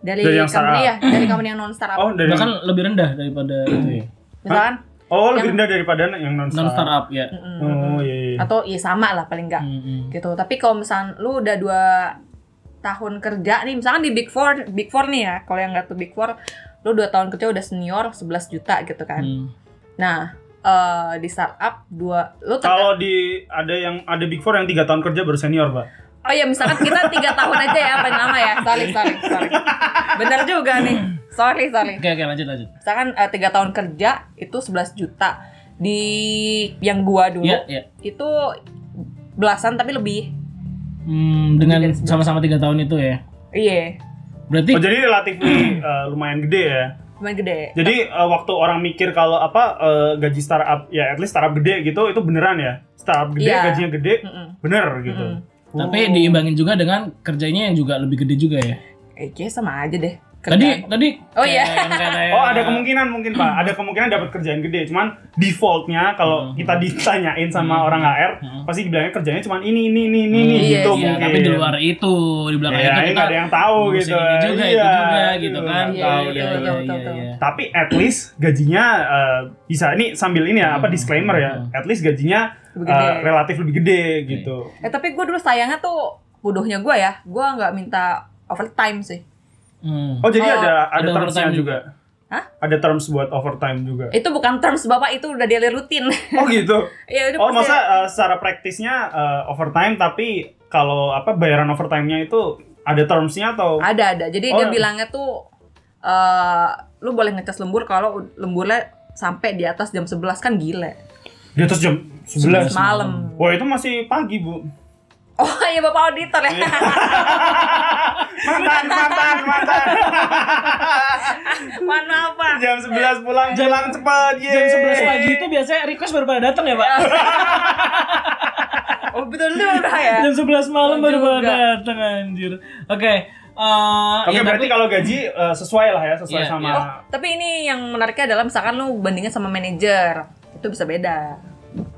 Dari, dari yang company ya, startup. dari company yang non startup. Oh, dari Bahkan lebih rendah daripada itu ya. misalkan Oh, lebih yang- rendah daripada yang non non startup. startup ya. mm, Oh, iya iya. atau ya sama lah paling enggak Hmm, hmm. gitu. Tapi kalau misalkan lu udah dua tahun kerja nih, misalkan di Big Four, Big Four nih ya, kalau yang nggak tuh Big Four, lu dua tahun kerja udah senior 11 juta gitu kan. Hmm. Nah, eh, di startup dua, lu ter- Kalau di ada yang ada Big Four yang tiga tahun kerja baru senior, Pak. oh ya misalkan kita tiga tahun aja ya paling lama ya, sorry sorry sorry, bener juga nih, sorry sorry. Oke oke lanjut lanjut. Misalkan eh, tiga tahun kerja itu 11 juta di yang gua dulu Iya iya. itu belasan tapi lebih, Hmm, dengan Lebih dari sebelas. sama-sama tiga tahun itu ya. iya, Berarti Oh, jadi relatif lumayan gede ya. lumayan gede. Jadi eh, waktu orang mikir kalau apa eh, gaji startup ya at least startup gede gitu itu beneran ya. Startup gede Iya. Hmm. gajinya gede Mm-mm. bener gitu. Mm-mm. tapi Oh. diimbangin juga dengan kerjanya yang juga lebih gede juga ya. Eh, kayaknya sama aja deh. Tadi Kerjaan. tadi Oh, iya. kayak yang kayak- Oh ada kemungkinan mungkin pak, ada kemungkinan dapat kerjaan gede. Cuman defaultnya kalau Hmm. kita ditanyain sama Hmm. orang HR Hmm. pasti dibilangnya kerjanya cuman ini ini ini ini Hmm, gitu Iya, mungkin. tapi di luar itu, di belakang Iya, itu ini kita nggak ada yang tahu ngurusin gitu. Ini Iya, juga, itu juga gitu kan. nggak Iya, tahu dia. iya, iya, betul, betul, betul. Tapi at least gajinya eh, bisa ini sambil ini ya apa Hmm. disclaimer ya. Hmm. Iya. At least gajinya Lebih eh, gede. relatif lebih gede gitu. eh tapi gue dulu sayangnya tuh bodohnya gue ya, gue nggak minta overtime sih. Hmm. Oh jadi Oh, ada ada ada termsnya overtime juga. Hah? Ada terms buat overtime juga. Itu bukan terms bapak itu udah daily (laughs) rutin. Oh gitu. ya udah Oh pasti- masa uh, secara praktisnya uh, overtime tapi kalau apa bayaran overtime-nya itu ada termsnya atau? Ada ada. Jadi Oh, dia iya. bilangnya tuh eh lu boleh ngecas lembur kalau u- lemburnya sampai di atas jam 11 kan gila. Di atas jam 11. Sebelas. Malam. Wah itu masih pagi bu. Oh (laughs) iya bapak auditor ya. Mantan mantan (laughs) mantan. (laughs) Mohon maaf pak. jam 11 pulang pulang cepat. Yeay. Jam 11 pagi itu biasanya request baru pada datang ya, Pak. Oh betul betul udah ya. Jam 11 malam baru Juga. pada datang anjir. Oke. eh, Oke ya, berarti tapi- kalau gaji uh, sesuai lah ya sesuai Iya, sama. iya. Oh, tapi ini yang menariknya adalah misalkan lu bandingin sama manajer itu bisa beda.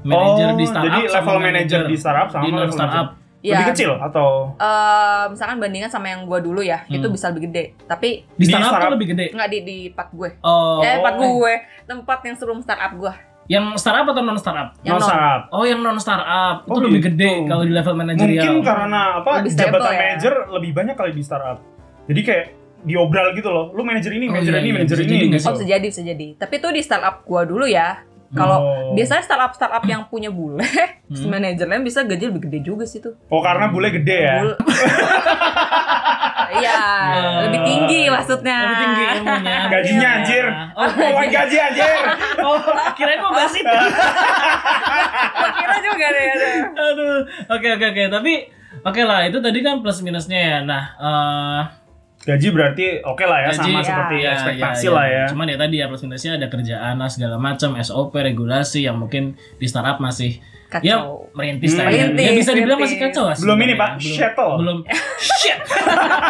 manajer di Oh, startup jadi sama level manajer di startup sama di level non startup ya Lebih kecil atau eh, misalkan bandingan sama yang gua dulu ya, itu Hmm. bisa lebih gede. Tapi Di Di startup startup. tuh lebih gede. nggak di di part gue. Oh, eh, part gue, tempat yang sebelum startup gue. yang startup atau non startup? Yang non startup? Oh, yang non startup itu Oh, lebih gitu. gede kalau di level manajerial. Mungkin karena apa Lebih stable jabatan ya. manajer lebih banyak kali di startup. Jadi kayak diobral gitu loh. Lu manajer ini, Oh, manajer iya, ini, iya, manajer bisa ini. jadi nggak Oh, bisa Gitu. jadi, bisa jadi. Tapi itu di startup gue dulu ya. Kalau Oh. biasanya startup startup yang punya bule, si Hmm. (laughs) manajernya bisa gaji lebih gede juga sih tuh. Oh karena bule gede ya. Bule. Iya, lebih tinggi maksudnya. Lebih tinggi ilmunya. Gajinya Iya. anjir. Oh, Oh, my gaji anjir. oh kirain mau bahas (laughs) itu. (laughs) Gua kira juga deh. ada. Aduh, oke oke oke. Tapi oke lah, itu tadi kan plus minusnya ya. Nah, eh Gaji berarti oke lah ya sama Gaji, seperti ya, ekspektasi ya, ya. lah ya. Cuman ya tadi ya plus minusnya ada kerjaan lah segala macam, SOP, regulasi yang mungkin di startup masih Kacau. ya merintis Hmm. lah ya. Merintis, Ya, bisa dibilang merintis. masih kacau lah Belum ini, sebenarnya. Pak. Shuttle. Belum. Shit. (laughs)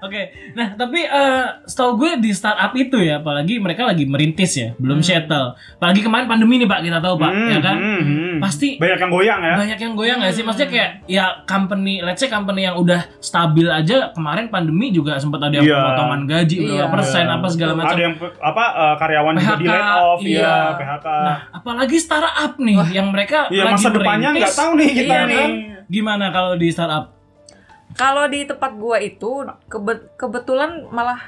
Oke, nah tapi eh setahu gue di startup itu ya, apalagi mereka lagi merintis ya, belum shuttle. Apalagi kemarin pandemi nih Pak, kita tahu Pak, Hmm, ya kan? hmm, hmm. Pasti banyak yang goyang ya. banyak yang goyang gak sih? Maksudnya kayak ya company, let's say company yang udah stabil aja kemarin pandemi juga sempat ada yang Iya. potongan gaji berapa Iya. persen Iya. apa segala macam. Ada yang pe- apa eh, karyawan juga di PHK, laid off iya. ya, PHK. Nah, apalagi startup nih yang mereka Iya, lagi masa depannya merintis. nggak tahu nih kita Iya, Gitu nih. kan? Gimana kalau di startup? Kalau di tempat gua itu kebe- kebetulan malah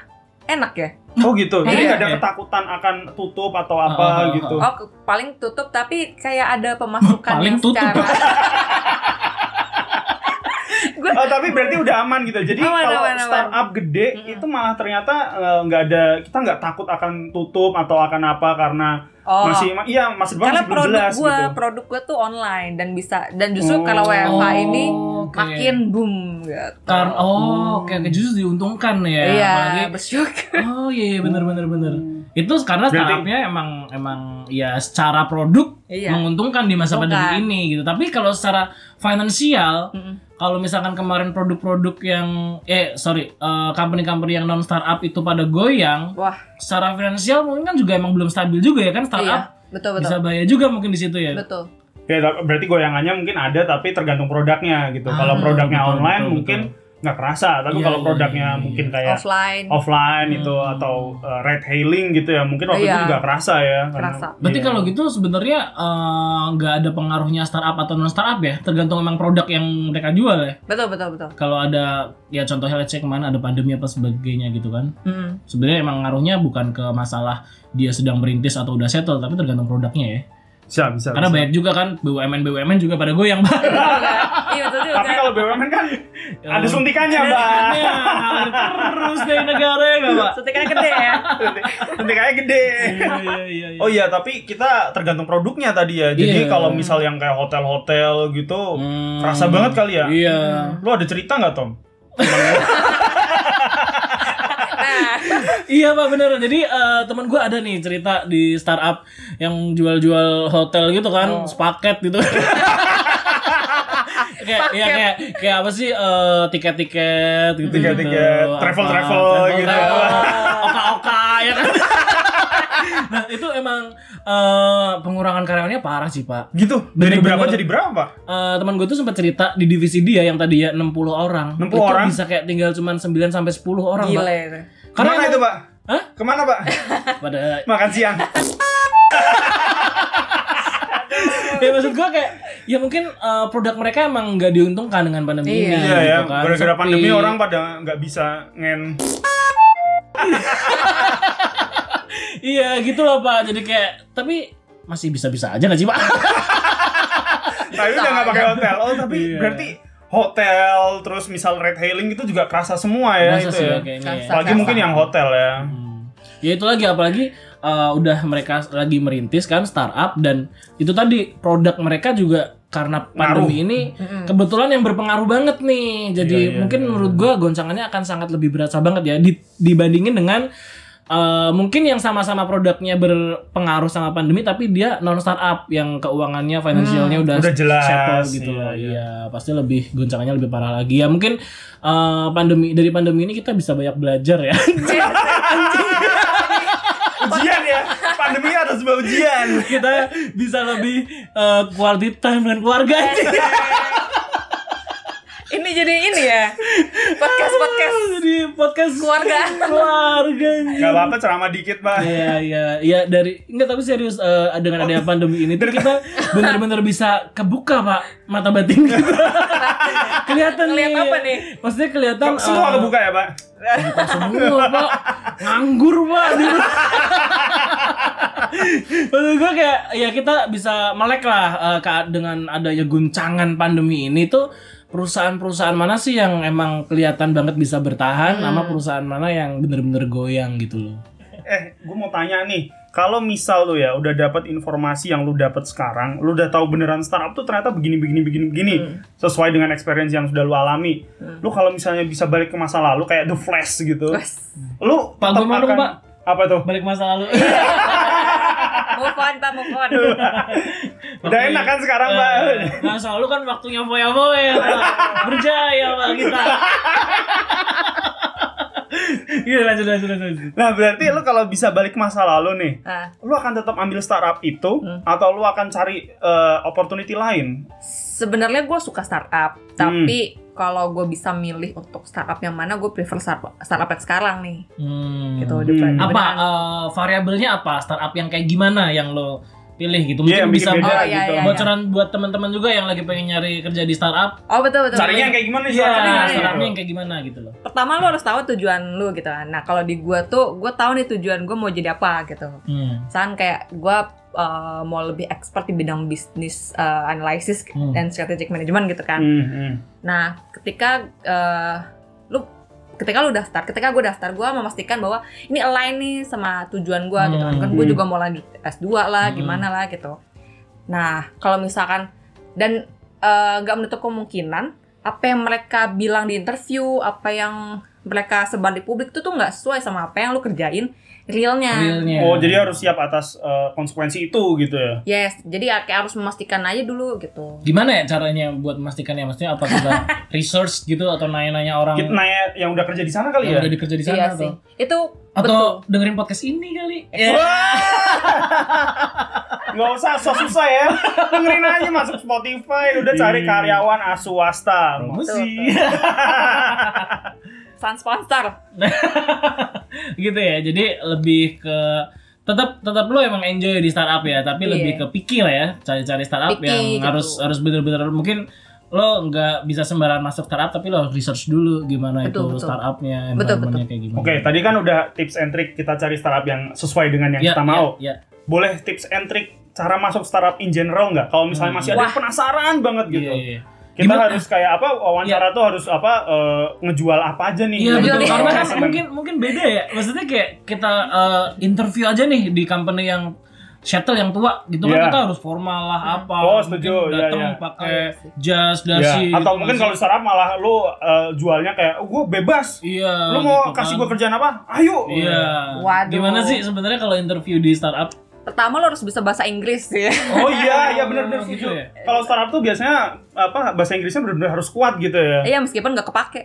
enak ya. Oh gitu. Jadi nggak Iya, ada iya. ketakutan akan tutup atau Ah, ah, ah, apa gitu. Oh, ke- paling tutup tapi kayak ada pemasukan Paling yang tutup. (laughs) secara (laughs) Gua- Oh, tapi berarti udah aman gitu. Jadi Aman, kalau aman, aman. startup gede Mm-mm. itu malah ternyata eh, nggak ada kita nggak takut akan tutup atau akan apa karena Oh. masih ma- iya masih masih karena belum produk jelas gua, gitu. produk gua tuh online dan bisa dan justru Oh. kalau WFH Oh, ini oke. makin boom gitu. Karena oh, kayak justru diuntungkan ya. Iya, Apalagi bersyukur. Oh iya, iya bener bener bener. Hmm. Itu karena Berarti- startupnya emang emang ya secara produk Iya. menguntungkan di masa Menguntungkan. pandemi ini gitu. Tapi kalau secara finansial, Mm-mm. kalau misalkan kemarin produk-produk yang eh sorry eh, company-company yang non startup itu pada goyang, Wah, secara finansial mungkin kan juga emang belum stabil juga ya kan iya. startup Betul, bisa betul. bahaya juga mungkin di situ ya. Betul. Ya, ta- berarti goyangannya mungkin ada tapi tergantung produknya gitu. Ah, kalau produknya betul, online betul, mungkin betul. nggak kerasa, tapi Iya, kalau iya, produknya iya, iya. mungkin kayak Offline. offline itu atau eh, red hailing gitu ya, mungkin waktu itu hmm. Iya. juga kerasa ya. Kerasa. Berarti iya. kalau gitu sebenarnya eh, nggak ada pengaruhnya startup atau non startup ya, tergantung emang produk yang mereka jual ya. Betul, betul, betul. Kalau ada ya contohnya let's say kemana ada pandemi apa sebagainya gitu kan. Mm. Sebenarnya emang ngaruhnya bukan ke masalah dia sedang merintis atau udah settle, tapi tergantung produknya ya. bisa bisa. Karena bisa. banyak juga kan BUMN BUMN juga pada goyang (laughs) banget. Betul juga. Iya, betul juga. Tapi kalau BUMN kan Ya ada suntikannya, Mbak. Iya, terus dari negara ya nggak, Pak. Suntikannya gede ya. (laughs) Suntikannya gede. Iya iya iya. iya. Oh iya, tapi kita tergantung produknya tadi ya. Jadi Iya. kalau misal yang kayak hotel-hotel gitu, Hmm. kerasa banget kali ya. Iya. Lu ada cerita nggak Tom? Nah, Iya pak bener Jadi eh, teman gue ada nih cerita di startup yang jual-jual hotel gitu kan, sepaket gitu. (laughs) kayak ya kayak kayak apa sih eh, tiket-tiket gitu. Tiket-tiket, Apa, travel-travel gitu. Oka-oka ya kan. (laughs) nah itu emang eh, pengurangan karyawannya parah sih pak. Gitu. Dari Bener-bener. berapa jadi berapa? Eh, teman gue tuh sempat cerita di divisi dia yang tadi ya 60 orang 60 itu orang? bisa kayak tinggal cuman 9 sampai 10 orang Pak. gile itu. Kemana Karena emang- itu, Pak? Hah? Kemana, (laughs) Pak? pada Makan siang. ya maksud gue kayak ya mungkin eh, produk mereka emang nggak diuntungkan dengan pandemi Iya. ini Iya ya, gitu kan. gara-gara Sepi. pandemi orang pada nggak bisa ngen. iya gitu loh pak jadi kayak tapi masih bisa-bisa aja nggak sih pak Tapi udah nggak pakai hotel. Oh, tapi Iya. berarti hotel terus misal red hailing itu juga kerasa semua ya Masa itu sih ya. ya, kayaknya ya. Kerasa. Apalagi mungkin yang hotel ya. Hmm. Ya itu lagi apalagi eh, udah mereka lagi merintis kan startup dan itu tadi produk mereka juga karena pandemi ini kebetulan yang berpengaruh banget nih. Jadi Iya, iya, mungkin iya, menurut gua goncangannya akan sangat lebih berasa banget ya di- dibandingin dengan eh, mungkin yang sama-sama produknya berpengaruh sama pandemi tapi dia non startup yang keuangannya finansialnya udah, Udah jelas, settle gitu iya, loh. iya. Iya, pasti lebih goncangannya lebih parah lagi. Ya mungkin eh, pandemi dari pandemi ini kita bisa banyak belajar ya. (laughs) Ujian ya. Pandemi ada sebuah ujian. Eh, kita bisa lebih eh, quality time dengan keluarga aja. jadi ini ya podcast podcast Jadi podcast Keluarga. keluarga. Gak apa-apa ceramah dikit, Pak. Iya iya iya dari enggak tapi serius eh, dengan adanya pandemi ini tuh kita benar-benar bisa kebuka Pak mata batin (laughs) kita. kelihatan Ngeliat nih. apa nih? Maksudnya kelihatan Semua eh, kebuka ya, Pak. bukan semua Pak. Nganggur Pak. Maksud gue kayak ya kita bisa melek lah eh, ke- dengan adanya guncangan pandemi ini tuh perusahaan-perusahaan mana sih yang emang kelihatan banget bisa bertahan sama Hmm. perusahaan mana yang bener-bener goyang gitu loh. Eh, gue mau tanya nih. Kalau misal lu ya udah dapat informasi yang lu dapat sekarang, lu udah tahu beneran startup tuh ternyata begini begini begini begini sesuai dengan experience yang sudah lu alami. Lu kalau misalnya bisa balik ke masa lalu kayak The Flash gitu. Wes. Lu Pak, tetap gua mau dong, akan- Pak. Apa tuh? Balik masa lalu. Iya. move on pak move on Udah enak kan sekarang, Pak? Nah, selalu kan waktunya foya-foya. Pak. Berjaya, Pak, (laughs) kita. Iya, lanjut, lanjut, lanjut. Nah, berarti lu kalau bisa balik ke masa lalu nih, nah lu akan tetap ambil startup itu atau lu akan cari eh, opportunity lain? sebenarnya gue suka startup tapi kalau gue bisa milih untuk startup yang mana gue prefer startup startup yang sekarang nih Hmm. gitu Hmm. di plan- Apa beneran. eh, variabelnya apa? Startup yang kayak gimana yang lo pilih gitu? Mungkin Iya, yang bikin bisa beda Oh, iya, gitu. iya, iya. bocoran buat teman-teman juga yang lagi pengen nyari kerja di startup. oh betul betul Carinya betul. yang kayak gimana kan sih? Iya, startupnya? startupnya yang kayak gimana gitu loh. pertama lo harus tahu tujuan lo gitu kan. Nah kalau di gua tuh gua tahu nih tujuan gua mau jadi apa gitu. Hmm. Misalkan kayak gua uh, mau lebih expert di bidang bisnis uh, analisis Hmm. dan strategic management gitu kan. Hmm, hmm. Nah ketika uh, lu ketika lu daftar, ketika gue daftar, gua memastikan bahwa ini align nih sama tujuan gua gitu kan. Kan gue Hmm. juga mau lanjut S2 lah, Hmm. gimana lah gitu. Nah kalau misalkan dan uh, nggak menutup kemungkinan apa yang mereka bilang di interview, apa yang mereka sebar di publik itu tuh nggak sesuai sama apa yang lu kerjain Iya. realnya. Realnya. Oh, jadi harus siap atas eh, konsekuensi itu gitu ya. Yes, jadi ya kayak harus memastikan aja dulu gitu. Gimana ya caranya buat memastikan ya? Maksudnya apa (laughs) kita research gitu atau nanya-nanya orang Kita nanya yang udah kerja di sana kali yang ya? udah dikerja di sana iya atau? sih. Itu Atau dengerin podcast ini kali. Wah! (laughs) Nggak usah, so susah ya. Dengerin aja masuk Spotify, udah cari Iya. karyawan aswasta. Gitu. (laughs) Promosi. sans sponsor. gitu ya. Jadi lebih ke tetap tetap lo emang enjoy di startup ya, tapi Iya. lebih ke picky lah ya, cari-cari startup Picky yang gitu. harus harus bener-bener mungkin lo nggak bisa sembarangan masuk startup tapi lo harus research dulu gimana Betul, itu betul. startupnya, Betul, environment-nya kayak gimana. Oke, tadi kan udah tips and trick kita cari startup yang sesuai dengan yang Ya, kita ya, mau. ya. boleh tips and trick cara masuk startup in general nggak? Kalau misalnya masih ada yang penasaran banget gitu. Hmm. Iya, iya. Kita Gimana- harus kayak apa wawancara tuh harus apa eh, ngejual apa aja nih. Iya Gitu. betul Iya. karena Orang kan seneng. mungkin mungkin beda ya. Maksudnya kayak kita eh, interview aja nih di company yang shuttle yang tua gitu Iya. kan kita harus formal lah apa. Oh, setuju. Iya, Mungkin datang iya. pakai Oh, iya sih. jas Ya, dasi. atau gitu mungkin kan. kalau startup malah lu eh, jualnya kayak oh, gue bebas. iya lu mau gitu kasih kan. gue kerjaan apa? Ayo. Iya. Waduh. Gimana sih sebenarnya kalau interview di startup? Pertama lo harus bisa bahasa Inggris sih. Oh iya, iya benar-benar Gitu setuju. ya. Kalau startup tuh biasanya apa bahasa Inggrisnya benar-benar harus kuat gitu (laughs) ya. (laughs) Iya meskipun nggak kepake.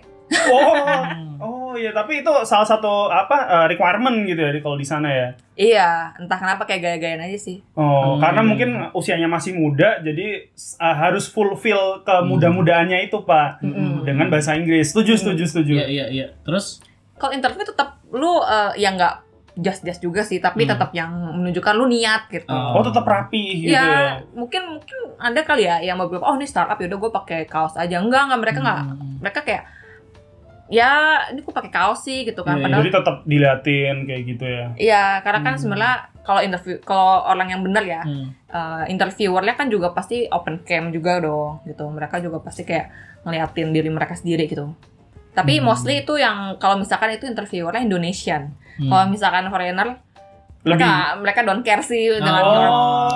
Oh. Hmm. Oh iya, tapi itu salah satu apa eh, requirement gitu ya di- kalau di sana ya. Iya, entah kenapa kayak gaya-gayaan aja sih. Oh, Hmm. karena mungkin usianya masih muda, jadi uh, harus fulfill ke Hmm. muda-mudaannya itu, Pak. Mm-mm. Dengan bahasa Inggris. Setuju, setuju, setuju. Iya iya iya. Terus Kalau interview tetap lu eh, yang nggak jas-jas juga sih, tapi Hmm. tetap yang menunjukkan lu niat gitu. Oh. Oh, tetap rapi gitu ya, ya. mungkin mungkin ada kali ya yang mau bilang, oh ini startup yaudah gue pakai kaos aja. Enggak enggak mereka nggak. Hmm. Mereka kayak ya ini gue pakai kaos sih gitu Iya, kan. iya. Padahal Jadi tetap diliatin kayak gitu ya. Iya, karena kan Hmm. sebenarnya kalau interview kalau orang yang benar ya, Hmm. eh, interviewernya kan juga pasti open cam juga dong gitu. Mereka juga pasti kayak ngeliatin diri mereka sendiri gitu. Tapi Hmm. mostly itu yang kalau misalkan itu interviewernya Indonesian. Hmm. Kalau misalkan foreigner, Lebih. mereka mereka don't care sih dengan orang.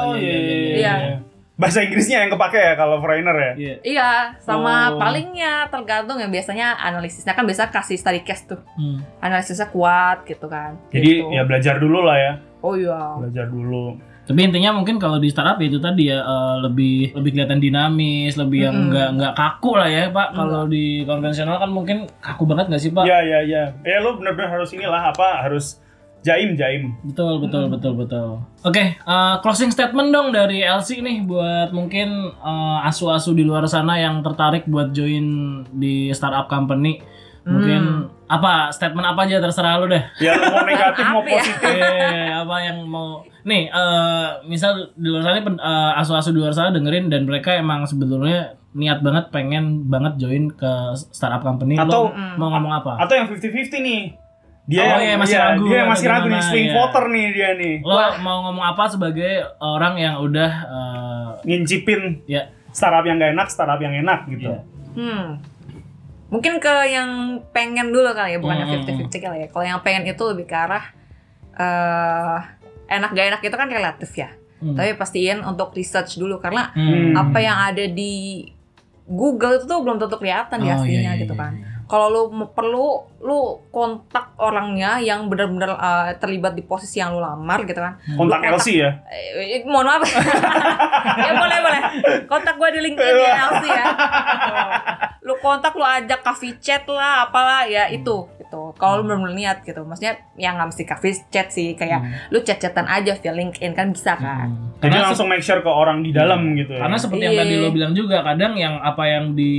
Oh, Iya, iya, iya, iya, iya. iya. Bahasa Inggrisnya yang kepake ya kalau foreigner ya. Iya. Iya, sama Oh. palingnya tergantung yang biasanya analisisnya kan biasa kasih study case tuh. Hmm. Analisisnya kuat gitu kan. Jadi Gitu. ya belajar dulu lah ya. Oh iya. Belajar dulu. Tapi intinya mungkin kalau di startup ya itu tadi ya eh, lebih lebih kelihatan dinamis, lebih yang Mm-mm. nggak nggak kaku lah ya Pak. Hmm. Kalau di konvensional kan mungkin kaku banget nggak sih Pak? Iya, iya, iya. Ya lu benar-benar harus inilah apa harus Jaim, jaim. Betul, betul, Hmm. betul, betul. Oke, eh, closing statement dong dari LC nih buat mungkin eh, asu-asu di luar sana yang tertarik buat join di startup company. Hmm. Mungkin apa statement apa aja terserah lu (laughs) deh. Ya lu mau (laughs) negatif mau Apa ya? positif. Eh, apa yang mau nih eh, misal di luar sana pen- eh, asu-asu di luar sana dengerin dan mereka emang sebetulnya niat banget pengen banget join ke startup company Lu Atau- mau ngomong apa Atau yang 50-50 nih. Dia Ah. Oh, yang iya, masih iya, ragu Dia yang atau masih ragu nih gimana, swing iya. voter nih dia nih. lo mau ngomong apa sebagai orang yang udah eh, Ngincipin ya startup yang gak enak, startup yang enak gitu. Iya. Hmm. Mungkin ke yang pengen dulu kali ya, bukan yang Hmm. 50-50 kali ya. Kalau yang pengen itu lebih ke arah eh enak gak enak itu kan relatif ya. Hmm. Tapi pastiin untuk research dulu karena Hmm. apa yang ada di Google itu tuh belum tentu kelihatan di Oh, iya, aslinya iya, gitu iya, kan. iya. Kalau lu mau- perlu lu kontak orangnya yang benar-benar eh, terlibat di posisi yang lu lamar gitu kan. Kontak Lu LC ya. Eh, eh, mohon maaf. ya boleh boleh. Kontak gue di LinkedIn ya Elsie ya. Lu kontak lu ajak coffee chat lah apalah ya itu gitu. Kalau lu belum niat gitu. Maksudnya yang nggak mesti coffee chat sih kayak lu chat-chatan aja via LinkedIn kan bisa kan. Hmm. Jadi Karena se- Iya. langsung make sure ke orang di dalam gitu. Ya. Karena seperti yang Iya. tadi lo bilang juga, kadang yang apa yang di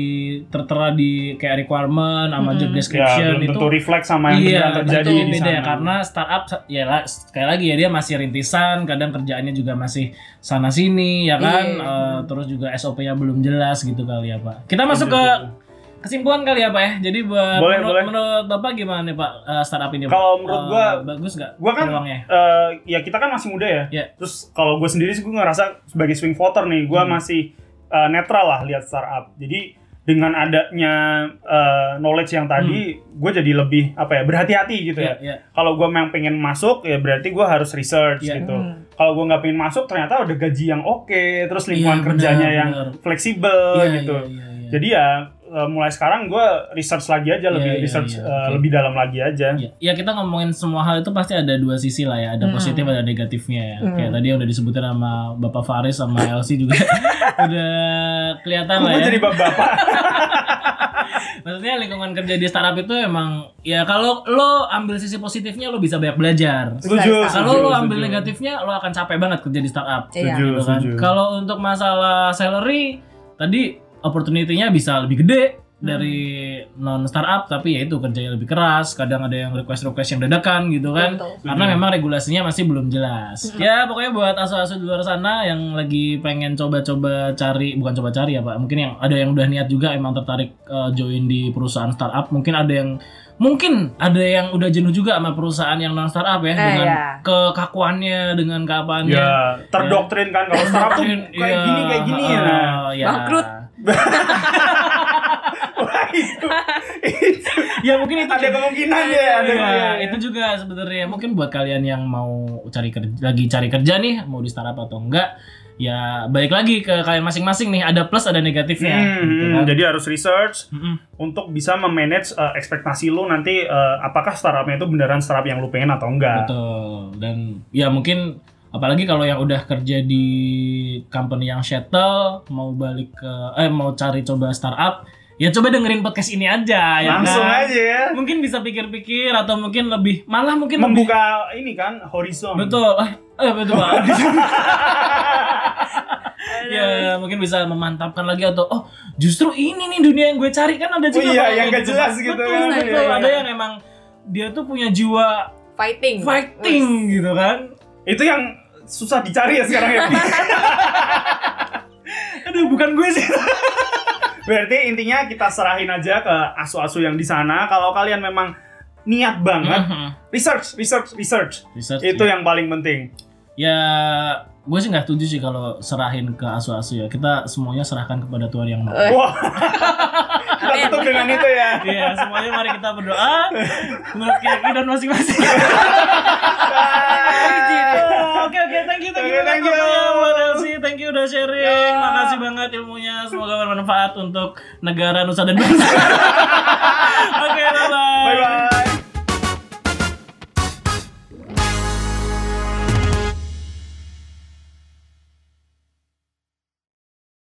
tertera di kayak requirement sama Hmm. job ya, description belum itu tentu refleks sama yang iya, beneran terjadi itu di beda sana. ya karena startup ya la- sekali lagi ya dia masih rintisan, kadang kerjaannya juga masih sana sini ya kan, Iya. Eh, terus juga SOP-nya belum jelas gitu kali ya Pak. Kita masuk gitu. ke kesimpulan kali ya Pak ya. Jadi buat Iya, Boleh, menurut, boleh. menurut Bapak gimana nih Pak eh, startup ini? Pak? Kalau menurut Eh, gua- bagus nggak? gua kan- peluangnya? Eh, ya kita kan masih muda ya. Iya. Terus kalau gue sendiri sih gue ngerasa sebagai swing voter nih, gue Hmm. masih eh, netral lah lihat startup. Jadi dengan adanya eh, knowledge yang tadi, gue jadi lebih apa ya berhati-hati gitu Hmm. Iya, ya. iya. Kalau gue memang pengen masuk, ya berarti gue harus research Iya. gitu. Hmm. Kalau gue nggak pengen masuk, ternyata ada gaji yang oke, terus lingkungan Iya, kerjanya benar, yang benar. fleksibel Iya, gitu. iya, iya, iya. Jadi ya eh, mulai sekarang gue research lagi aja, Iya, lebih iya, research iya, eh, oke. lebih dalam lagi aja. Ya, ya kita ngomongin semua hal itu pasti ada dua sisi lah ya, ada positif ada negatifnya ya. Kayak tadi yang udah disebutin sama Bapak Faris (laughs) sama Elsi juga (laughs) udah kelihatan lah Gue ya. jadi bapak-bapak. (laughs) Maksudnya lingkungan kerja di startup itu emang ya kalau lo ambil sisi positifnya lo bisa banyak belajar. Setuju. Bisa, bisa. Kalau lo setuju, ambil setuju. negatifnya lo akan capek banget kerja di startup. Iya. Setuju, Gitu kan. setuju. Kalau untuk masalah salary tadi opportunity-nya bisa lebih gede Hmm. dari non startup tapi ya itu kerjanya lebih keras, kadang ada yang request-request yang dadakan gitu kan. Betul. Hmm. Karena Setuju. memang regulasinya masih belum jelas. Ya pokoknya buat asu-asu di luar sana yang lagi pengen coba-coba cari, bukan coba cari ya Pak, mungkin yang ada yang udah niat juga emang tertarik eh, join di perusahaan startup, mungkin ada yang mungkin ada yang udah jenuh juga sama perusahaan yang non startup ya Eh, dengan iya. kekakuannya dengan keapaannya. Ya, terdoktrin kan kalau startup tuh Mungkin, kayak gini iya, kayak gini ya. ah, ya. Bangkrut. (laughs) Wah, itu, (laughs) itu Ya mungkin itu ada kemungkinan ya, ada Iya, kemungkinan. itu juga sebenarnya mungkin buat kalian yang mau cari kerja lagi cari kerja nih mau di startup atau enggak ya balik lagi ke kalian masing-masing nih ada plus ada negatifnya Hmm, gitu hmm, kan. jadi harus research Mm-mm. untuk bisa memanage uh, ekspektasi lu nanti uh, apakah startupnya itu beneran startup yang lu pengen atau enggak. Betul. Dan ya mungkin apalagi kalau yang udah kerja di company yang shuttle mau balik ke eh mau cari coba startup, ya coba dengerin podcast ini aja ya Nah, Langsung kan? aja ya. Mungkin bisa pikir-pikir atau mungkin lebih malah mungkin lebih- Membuka ini kan horizon. betul. Eh, eh, betul (laughs) Pak. (laughs) ya mungkin bisa memantapkan lagi atau oh justru ini nih dunia yang gue cari kan ada iya, juga Pak, yang kayak nggak jelas gitu betul, kan. betul. Iya, iya, ada iya. yang emang dia tuh punya jiwa Fighting. fighting gitu kan Itu yang susah dicari ya sekarang ya. Aduh, bukan gue sih. Berarti intinya kita serahin aja ke asu-asu yang di sana. Kalau kalian memang niat banget, Mhm. research, research, research. Mm-hmm. Research, Itu yang paling penting. Ya, gue sih nggak setuju sih kalau serahin ke asu-asu ya. Kita semuanya serahkan kepada Tuhan yang Maha. Eh. Wah, (laughs) kita tutup dengan itu (laughs) ya. Iya, semuanya mari kita berdoa menurut keyakinan masing-masing. Oke oke, thank you thank Oke, you banget thank you. Bapak Mbak Elsi, thank you udah sharing. Makasih banget ilmunya, semoga bermanfaat untuk negara, nusa dan bangsa. Oke, bye bye. Bye bye.